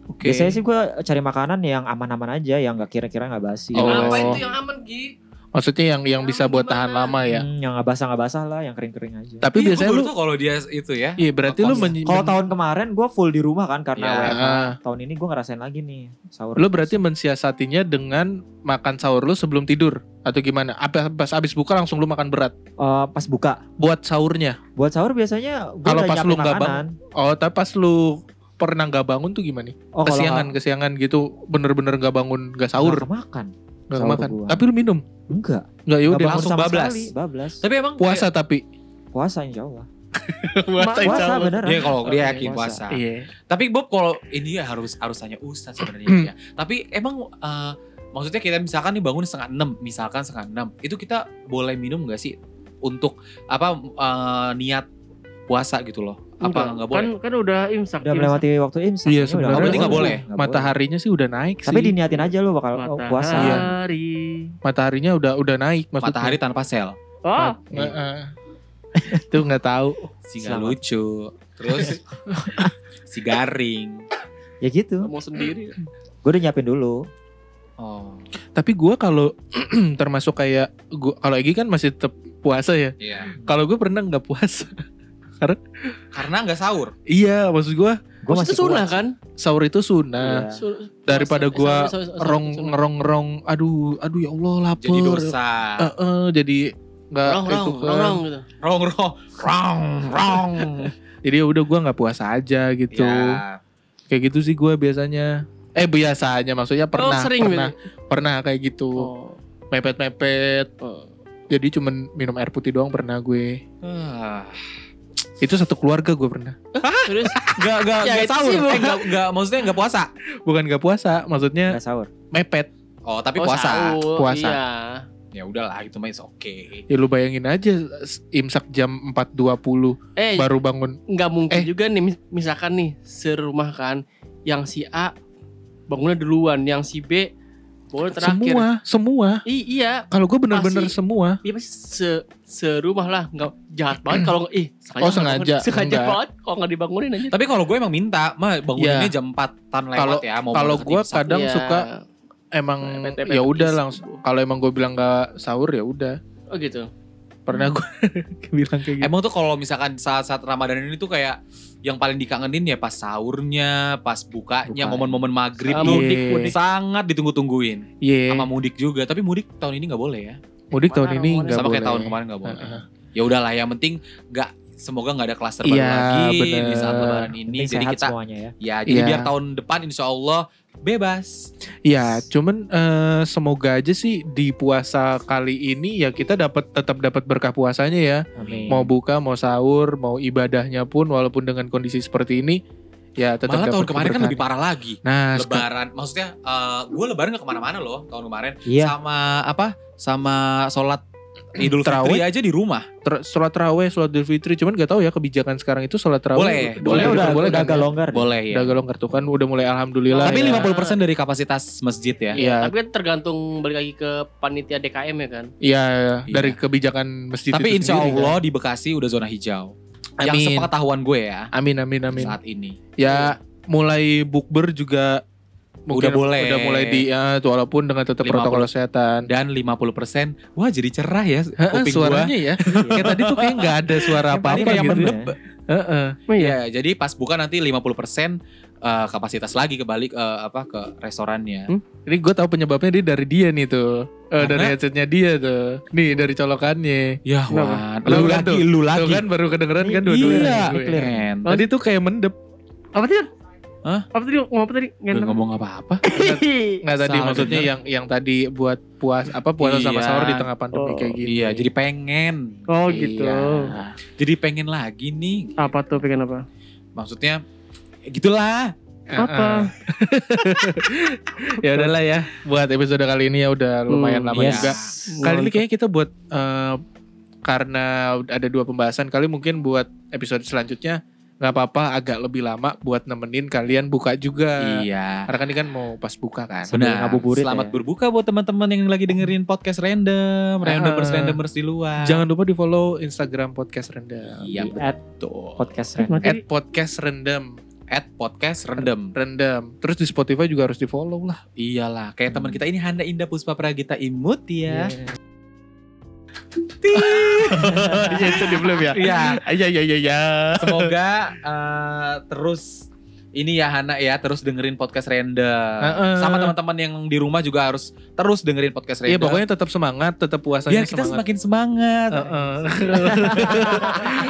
[SPEAKER 1] Oke.
[SPEAKER 3] Biasanya sih gue cari makanan yang aman-aman aja, yang nggak kira-kira nggak basi.
[SPEAKER 2] Oh.
[SPEAKER 5] Apa itu yang aman Gi?
[SPEAKER 2] Maksudnya yang yang bisa
[SPEAKER 5] Yang
[SPEAKER 2] buat
[SPEAKER 5] gimana?
[SPEAKER 2] tahan lama ya.
[SPEAKER 3] Hmm, yang nggak basah nggak basah lah, yang kering-kering aja.
[SPEAKER 2] Tapi
[SPEAKER 1] Iya, gua
[SPEAKER 2] biasanya
[SPEAKER 1] baru
[SPEAKER 2] lu
[SPEAKER 1] tuh kalau dia itu ya.
[SPEAKER 2] Iya berarti lu
[SPEAKER 1] Ngekos.
[SPEAKER 2] men,
[SPEAKER 3] Kalau
[SPEAKER 2] men-
[SPEAKER 3] tahun kemarin gue full di rumah kan karena
[SPEAKER 1] Ya.
[SPEAKER 3] WFH.
[SPEAKER 2] Ah.
[SPEAKER 3] Tahun ini gue ngerasain lagi nih sahur.
[SPEAKER 2] lu berarti mensiasatinya dengan makan sahur lu sebelum tidur atau gimana? Apa pas abis buka langsung lu makan berat
[SPEAKER 3] Eh, pas buka.
[SPEAKER 2] buat sahurnya.
[SPEAKER 3] Buat sahur biasanya gue
[SPEAKER 2] Kalau
[SPEAKER 3] udah
[SPEAKER 2] pas
[SPEAKER 3] nyiapin
[SPEAKER 2] lu nggak
[SPEAKER 3] makanan.
[SPEAKER 2] Oh, tapi pas lu pernah nggak bangun tuh gimana?
[SPEAKER 3] Oh, kalau
[SPEAKER 2] kesiangan
[SPEAKER 3] nggak-
[SPEAKER 2] kesiangan gitu bener-bener nggak bangun nggak
[SPEAKER 3] nggak
[SPEAKER 2] sahur
[SPEAKER 3] makan.
[SPEAKER 2] nggak
[SPEAKER 3] sahur
[SPEAKER 2] makan
[SPEAKER 3] gua.
[SPEAKER 2] tapi lu minum
[SPEAKER 3] Enggak.
[SPEAKER 2] nggak
[SPEAKER 3] nggak
[SPEAKER 2] yaudah
[SPEAKER 3] bangun
[SPEAKER 1] Ya langsung
[SPEAKER 3] sama
[SPEAKER 1] bablas.
[SPEAKER 3] sekali, bablas.
[SPEAKER 1] Tapi emang
[SPEAKER 2] puasa tapi
[SPEAKER 3] Puasa insya Allah.
[SPEAKER 2] puasa
[SPEAKER 3] Puasa beneran.
[SPEAKER 1] Iya kalau dia
[SPEAKER 3] Oke,
[SPEAKER 1] yakin puasa.
[SPEAKER 2] iya
[SPEAKER 1] Tapi Bob kalau ini ya harus harus tanya Ustaz
[SPEAKER 2] Hmm.
[SPEAKER 1] sebenarnya ya. Tapi emang eh, maksudnya kita misalkan nih bangun setengah enam, misalkan setengah enam, itu kita boleh minum nggak sih untuk apa eh, niat puasa gitu loh? Apa nggak boleh?
[SPEAKER 4] Kan kan udah imsak.
[SPEAKER 3] Udah
[SPEAKER 4] imsak.
[SPEAKER 3] melewati waktu
[SPEAKER 2] Iya,
[SPEAKER 3] imsak. ini udah
[SPEAKER 2] sebenarnya.
[SPEAKER 1] Berarti nggak boleh.
[SPEAKER 2] mataharinya sih udah naik
[SPEAKER 3] Tapi
[SPEAKER 2] sih
[SPEAKER 3] diniatin aja lu bakal oh, puasa.
[SPEAKER 4] Matahari.
[SPEAKER 2] mataharinya udah udah naik maksudnya
[SPEAKER 1] Matahari tanpa sel.
[SPEAKER 4] Oh,
[SPEAKER 2] Nggak, eh. itu nggak tahu
[SPEAKER 1] Si nggak
[SPEAKER 3] Selamat.
[SPEAKER 1] lucu. Terus si garing.
[SPEAKER 3] Ya gitu.
[SPEAKER 4] mau sendiri.
[SPEAKER 3] Gue udah nyiapin dulu.
[SPEAKER 1] Oh.
[SPEAKER 2] tapi gua kalau termasuk kayak gua kalau Egi kan masih tetap puasa ya
[SPEAKER 1] Iya.
[SPEAKER 2] kalau gue pernah nggak puasa
[SPEAKER 1] Karena nggak sahur.
[SPEAKER 2] iya maksud gua
[SPEAKER 3] Gue
[SPEAKER 4] Maksudnya
[SPEAKER 3] masih
[SPEAKER 4] sunnah
[SPEAKER 3] kuat.
[SPEAKER 4] kan?
[SPEAKER 2] sahur itu
[SPEAKER 1] Nah,
[SPEAKER 2] sunnah
[SPEAKER 3] Iya.
[SPEAKER 4] Su-
[SPEAKER 2] Nah. daripada
[SPEAKER 4] puasa-
[SPEAKER 2] gua
[SPEAKER 4] sorry, sorry, sorry,
[SPEAKER 2] rong
[SPEAKER 4] sunnah.
[SPEAKER 2] ngerong ngerong aduh aduh ya Allah lapar
[SPEAKER 1] Jadi dosa.
[SPEAKER 2] Eh, eh, jadi nggak
[SPEAKER 4] Rong rong
[SPEAKER 2] itu kan.
[SPEAKER 4] rong rong gitu.
[SPEAKER 1] Rong rong rong rong.
[SPEAKER 2] jadi ya udah gua nggak puasa aja gitu
[SPEAKER 4] Iya.
[SPEAKER 1] Ya.
[SPEAKER 2] kayak gitu sih gua biasanya eh biasanya maksudnya pernah
[SPEAKER 4] Oh, sering
[SPEAKER 2] pernah pernah kayak gitu
[SPEAKER 4] gitu. Oh.
[SPEAKER 2] mepet mepet jadi cuman minum air putih doang pernah gue
[SPEAKER 1] Ah.
[SPEAKER 2] itu satu keluarga gue pernah
[SPEAKER 4] Terus
[SPEAKER 1] Gak gak gak
[SPEAKER 4] Ya, itu
[SPEAKER 1] sahur.
[SPEAKER 4] sih, Bang.
[SPEAKER 1] Eh, gak, gak maksudnya gak puasa.
[SPEAKER 4] Nah.
[SPEAKER 2] bukan nggak puasa maksudnya
[SPEAKER 3] Nggak sahur.
[SPEAKER 2] mepet
[SPEAKER 1] Oh tapi
[SPEAKER 4] oh,
[SPEAKER 1] puasa.
[SPEAKER 4] sahur,
[SPEAKER 2] Puasa.
[SPEAKER 4] Iya.
[SPEAKER 1] ya udahlah itu mah is okay.
[SPEAKER 2] Ya lu bayangin aja s- imsak jam 4.20
[SPEAKER 4] eh
[SPEAKER 2] baru bangun.
[SPEAKER 4] nggak mungkin
[SPEAKER 2] Eh.
[SPEAKER 4] juga nih mis- misalkan nih serumah kan yang si A bangunnya duluan yang si B boleh terakhir
[SPEAKER 2] Semua, semua.
[SPEAKER 4] I- iya
[SPEAKER 2] Kalau gue bener-bener
[SPEAKER 4] Pasti.
[SPEAKER 2] semua.
[SPEAKER 4] dia Iya, pasti se serumah lah nggak jahat banget kalau nggak- ih sengaja
[SPEAKER 2] Oh,
[SPEAKER 4] nggak
[SPEAKER 2] sengaja.
[SPEAKER 4] dibangunin. sengaja
[SPEAKER 2] Enggak.
[SPEAKER 4] banget kalau nggak dibangunin aja
[SPEAKER 1] Tapi kalau gue emang minta, mah banguninnya jam 4-an lewat
[SPEAKER 2] Kalau-
[SPEAKER 1] ya. mau
[SPEAKER 2] kalau
[SPEAKER 1] berangkat
[SPEAKER 2] gue
[SPEAKER 1] imsak.
[SPEAKER 2] kadang
[SPEAKER 4] Iya.
[SPEAKER 2] suka emang
[SPEAKER 1] Nah,
[SPEAKER 4] Mepet-mepet
[SPEAKER 2] ya udah
[SPEAKER 4] gitu.
[SPEAKER 2] langsung. Kalau emang gue bilang nggak sahur ya udah.
[SPEAKER 4] oh gitu
[SPEAKER 2] Pernah gue bilang kayak gitu.
[SPEAKER 1] Hmm. Emang tuh kalau misalkan saat-saat Ramadan ini tuh kayak yang paling dikangenin ya pas sahurnya, pas bukanya,
[SPEAKER 3] Buka.
[SPEAKER 1] momen-momen maghrib
[SPEAKER 4] Ah,
[SPEAKER 1] tuh
[SPEAKER 4] mudik
[SPEAKER 2] Iya.
[SPEAKER 4] mudik
[SPEAKER 1] sangat ditunggu-tungguin.
[SPEAKER 2] Iya.
[SPEAKER 1] Sama mudik juga, tapi mudik tahun ini nggak boleh ya.
[SPEAKER 2] Mudik
[SPEAKER 4] Kemana
[SPEAKER 2] tahun ini
[SPEAKER 4] Ramadan?
[SPEAKER 2] nggak
[SPEAKER 1] Sama
[SPEAKER 2] boleh.
[SPEAKER 1] kayak tahun kemarin nggak boleh.
[SPEAKER 2] Heeh.
[SPEAKER 1] Ya udahlah, yang penting nggak semoga nggak ada klaster baru
[SPEAKER 2] Iya,
[SPEAKER 1] lagi di saat
[SPEAKER 2] bener.
[SPEAKER 1] Lebaran ini.
[SPEAKER 3] Penting
[SPEAKER 1] Jadi
[SPEAKER 3] sehat
[SPEAKER 1] kita
[SPEAKER 3] semuanya ya.
[SPEAKER 1] ya jadi
[SPEAKER 2] Iya.
[SPEAKER 1] biar tahun depan insya Allah bebas.
[SPEAKER 2] Ya, cuman eh, semoga aja sih di puasa kali ini ya kita dapat tetap dapat berkah puasanya ya.
[SPEAKER 3] Amin.
[SPEAKER 2] Mau buka, mau sahur, mau ibadahnya pun walaupun dengan kondisi seperti ini ya tetap
[SPEAKER 1] Malah
[SPEAKER 2] dapat
[SPEAKER 1] tahun kemarin kan
[SPEAKER 2] keberkahan.
[SPEAKER 1] lebih parah lagi.
[SPEAKER 2] Nah, seka-
[SPEAKER 1] Lebaran, maksudnya eh, gue Lebaran gak kemana-mana loh tahun kemarin.
[SPEAKER 3] Iya.
[SPEAKER 1] Sama apa? Sama sholat Idul Fitri
[SPEAKER 2] Terawih.
[SPEAKER 1] aja di rumah.
[SPEAKER 2] ter- sholat taraweh, sholat Idul Fitri, cuman gak tahu ya kebijakan sekarang itu sholat
[SPEAKER 1] Boleh,
[SPEAKER 2] taraweh.
[SPEAKER 1] boleh,
[SPEAKER 3] Boleh udah
[SPEAKER 2] boleh
[SPEAKER 3] boleh
[SPEAKER 2] kan
[SPEAKER 3] agak
[SPEAKER 2] ya?
[SPEAKER 3] longgar. deh.
[SPEAKER 1] Boleh ya.
[SPEAKER 2] Udah agak longgar tuh kan udah mulai alhamdulillah.
[SPEAKER 1] Tapi
[SPEAKER 2] ya.
[SPEAKER 4] lima-
[SPEAKER 1] 50% dari kapasitas masjid ya.
[SPEAKER 2] Iya,
[SPEAKER 4] tapi kan tergantung balik lagi ke panitia DKM ya kan
[SPEAKER 2] iya
[SPEAKER 1] Iya.
[SPEAKER 2] dari kebijakan masjid
[SPEAKER 1] Tapi
[SPEAKER 2] itu
[SPEAKER 1] insya
[SPEAKER 2] sendiri kan.
[SPEAKER 1] Allah di Bekasi udah zona hijau. Yang
[SPEAKER 2] Amin.
[SPEAKER 1] sepengetahuan gue ya
[SPEAKER 2] Amin amin amin.
[SPEAKER 1] saat ini.
[SPEAKER 2] Ya mulai bukber juga mungkin
[SPEAKER 1] Udah boleh.
[SPEAKER 2] Udah mulai di ya, tuh, walaupun dengan tetap
[SPEAKER 1] 50.
[SPEAKER 2] protokol kesehatan.
[SPEAKER 1] Dan 50% wah jadi cerah ya
[SPEAKER 2] Heeh,
[SPEAKER 1] kuping gue.
[SPEAKER 2] suaranya ya.
[SPEAKER 3] Iya.
[SPEAKER 2] kayak tadi tuh kayak nggak ada suara
[SPEAKER 3] Yang
[SPEAKER 2] apa-apa
[SPEAKER 3] penting yang
[SPEAKER 2] gitu.
[SPEAKER 3] bener ya.
[SPEAKER 2] Heeh.
[SPEAKER 4] Oh,
[SPEAKER 1] Iya, jadi pas buka nanti 50% eh, kapasitas lagi kebalik eh, apa ke restorannya.
[SPEAKER 2] Ini gue tahu penyebabnya dia dari dia nih tuh. Eh, dari
[SPEAKER 1] Karena?
[SPEAKER 2] headsetnya dia tuh. Nih dari colokannya.
[SPEAKER 1] Ya,
[SPEAKER 2] Kenapa?
[SPEAKER 1] Wan.
[SPEAKER 2] Tahu
[SPEAKER 1] Lu
[SPEAKER 2] kan
[SPEAKER 1] lagi,
[SPEAKER 2] tuh?
[SPEAKER 1] lu
[SPEAKER 2] Tuh
[SPEAKER 1] lagi.
[SPEAKER 2] kan baru kedengeran kan dua-duanya.
[SPEAKER 1] Iya,
[SPEAKER 2] gue.
[SPEAKER 3] clear.
[SPEAKER 1] keren.
[SPEAKER 2] Tadi tuh kayak mendep.
[SPEAKER 4] apa tadi
[SPEAKER 1] Hah?
[SPEAKER 4] apa tadi ngomong apa tadi
[SPEAKER 1] Gak ngomong apa-apa.
[SPEAKER 2] Nggak tadi
[SPEAKER 1] Salah
[SPEAKER 2] maksudnya
[SPEAKER 1] denger.
[SPEAKER 2] yang yang tadi buat puas apa puasa sama
[SPEAKER 1] Iya.
[SPEAKER 2] sahur di tengah pandemi
[SPEAKER 4] Oh,
[SPEAKER 2] kayak gitu. gini.
[SPEAKER 1] Iya, jadi pengen.
[SPEAKER 4] Oh, gitu.
[SPEAKER 1] Iya. Jadi pengen lagi nih.
[SPEAKER 2] Ah.
[SPEAKER 4] apa tuh pengen apa
[SPEAKER 1] Maksudnya ya gitulah.
[SPEAKER 2] Heeh.
[SPEAKER 4] apa
[SPEAKER 2] ya udahlah ya buat episode kali ini ya udah lumayan
[SPEAKER 4] Hmm,
[SPEAKER 2] lama
[SPEAKER 1] yes.
[SPEAKER 2] juga. Kali ini kayaknya kita buat eh, karena ada dua pembahasan kali mungkin buat episode selanjutnya nggak apa-apa agak lebih lama buat nemenin kalian buka juga.
[SPEAKER 1] Iya.
[SPEAKER 2] Karena kan ini kan mau pas buka kan.
[SPEAKER 3] Sambil
[SPEAKER 1] Benar.
[SPEAKER 3] ngabuburit
[SPEAKER 1] Selamat
[SPEAKER 3] ya.
[SPEAKER 1] berbuka buat teman-teman yang lagi dengerin podcast random, randomers randomers di luar.
[SPEAKER 2] Jangan lupa di follow Instagram podcast rendam.
[SPEAKER 1] Iya,
[SPEAKER 3] Di at
[SPEAKER 1] betul.
[SPEAKER 3] podcast Ren.
[SPEAKER 2] At podcast rendam,
[SPEAKER 1] At podcast random.
[SPEAKER 2] rendam. Terus di Spotify juga harus di follow lah.
[SPEAKER 1] Iyalah, kayak
[SPEAKER 2] Hmm.
[SPEAKER 1] teman kita ini Handa Indah Puspa Pragita Imut ya.
[SPEAKER 2] Iya itu di belum ya.
[SPEAKER 1] Iya.
[SPEAKER 2] Iya iya iya iya.
[SPEAKER 1] Semoga eh, terus ini ya Hana ya terus dengerin podcast random.
[SPEAKER 2] Heeh.
[SPEAKER 1] Sama teman-teman yang di rumah juga harus terus dengerin podcast random.
[SPEAKER 2] Iya pokoknya tetap semangat, tetap puasanya
[SPEAKER 1] biar kita
[SPEAKER 2] semangat.
[SPEAKER 1] semakin semangat.
[SPEAKER 2] Heeh.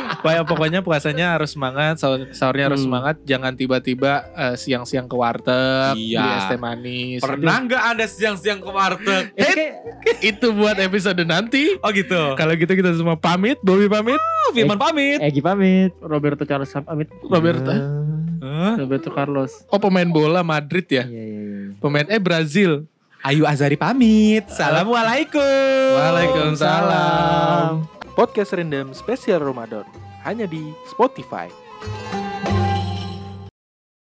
[SPEAKER 2] Pokoknya- pokoknya puasanya harus semangat, sahur- sahurnya harus
[SPEAKER 4] Hmm.
[SPEAKER 2] semangat, jangan tiba-tiba eh, siang-siang ke warteg,
[SPEAKER 1] Iya.
[SPEAKER 2] beli es teh manis.
[SPEAKER 1] Pernah nggak ada siang-siang ke warteg?
[SPEAKER 3] Eh, kayak-
[SPEAKER 2] Itu buat episode nanti.
[SPEAKER 1] Oh gitu.
[SPEAKER 2] Kalau gitu kita semua pamit, Bobby pamit,
[SPEAKER 1] Oh, Firman pamit.
[SPEAKER 3] Egi pamit.
[SPEAKER 4] Roberto Carlos amit
[SPEAKER 2] Iya. Roberta.
[SPEAKER 1] Hah?
[SPEAKER 4] Roberto Carlos
[SPEAKER 2] Oh pemain bola Madrid ya,
[SPEAKER 3] Iya iya iya.
[SPEAKER 2] pemain eh Brazil.
[SPEAKER 1] Ayu Azari pamit. Assalamualaikum.
[SPEAKER 2] Waalaikumsalam. Podcast Random spesial Ramadan hanya di Spotify.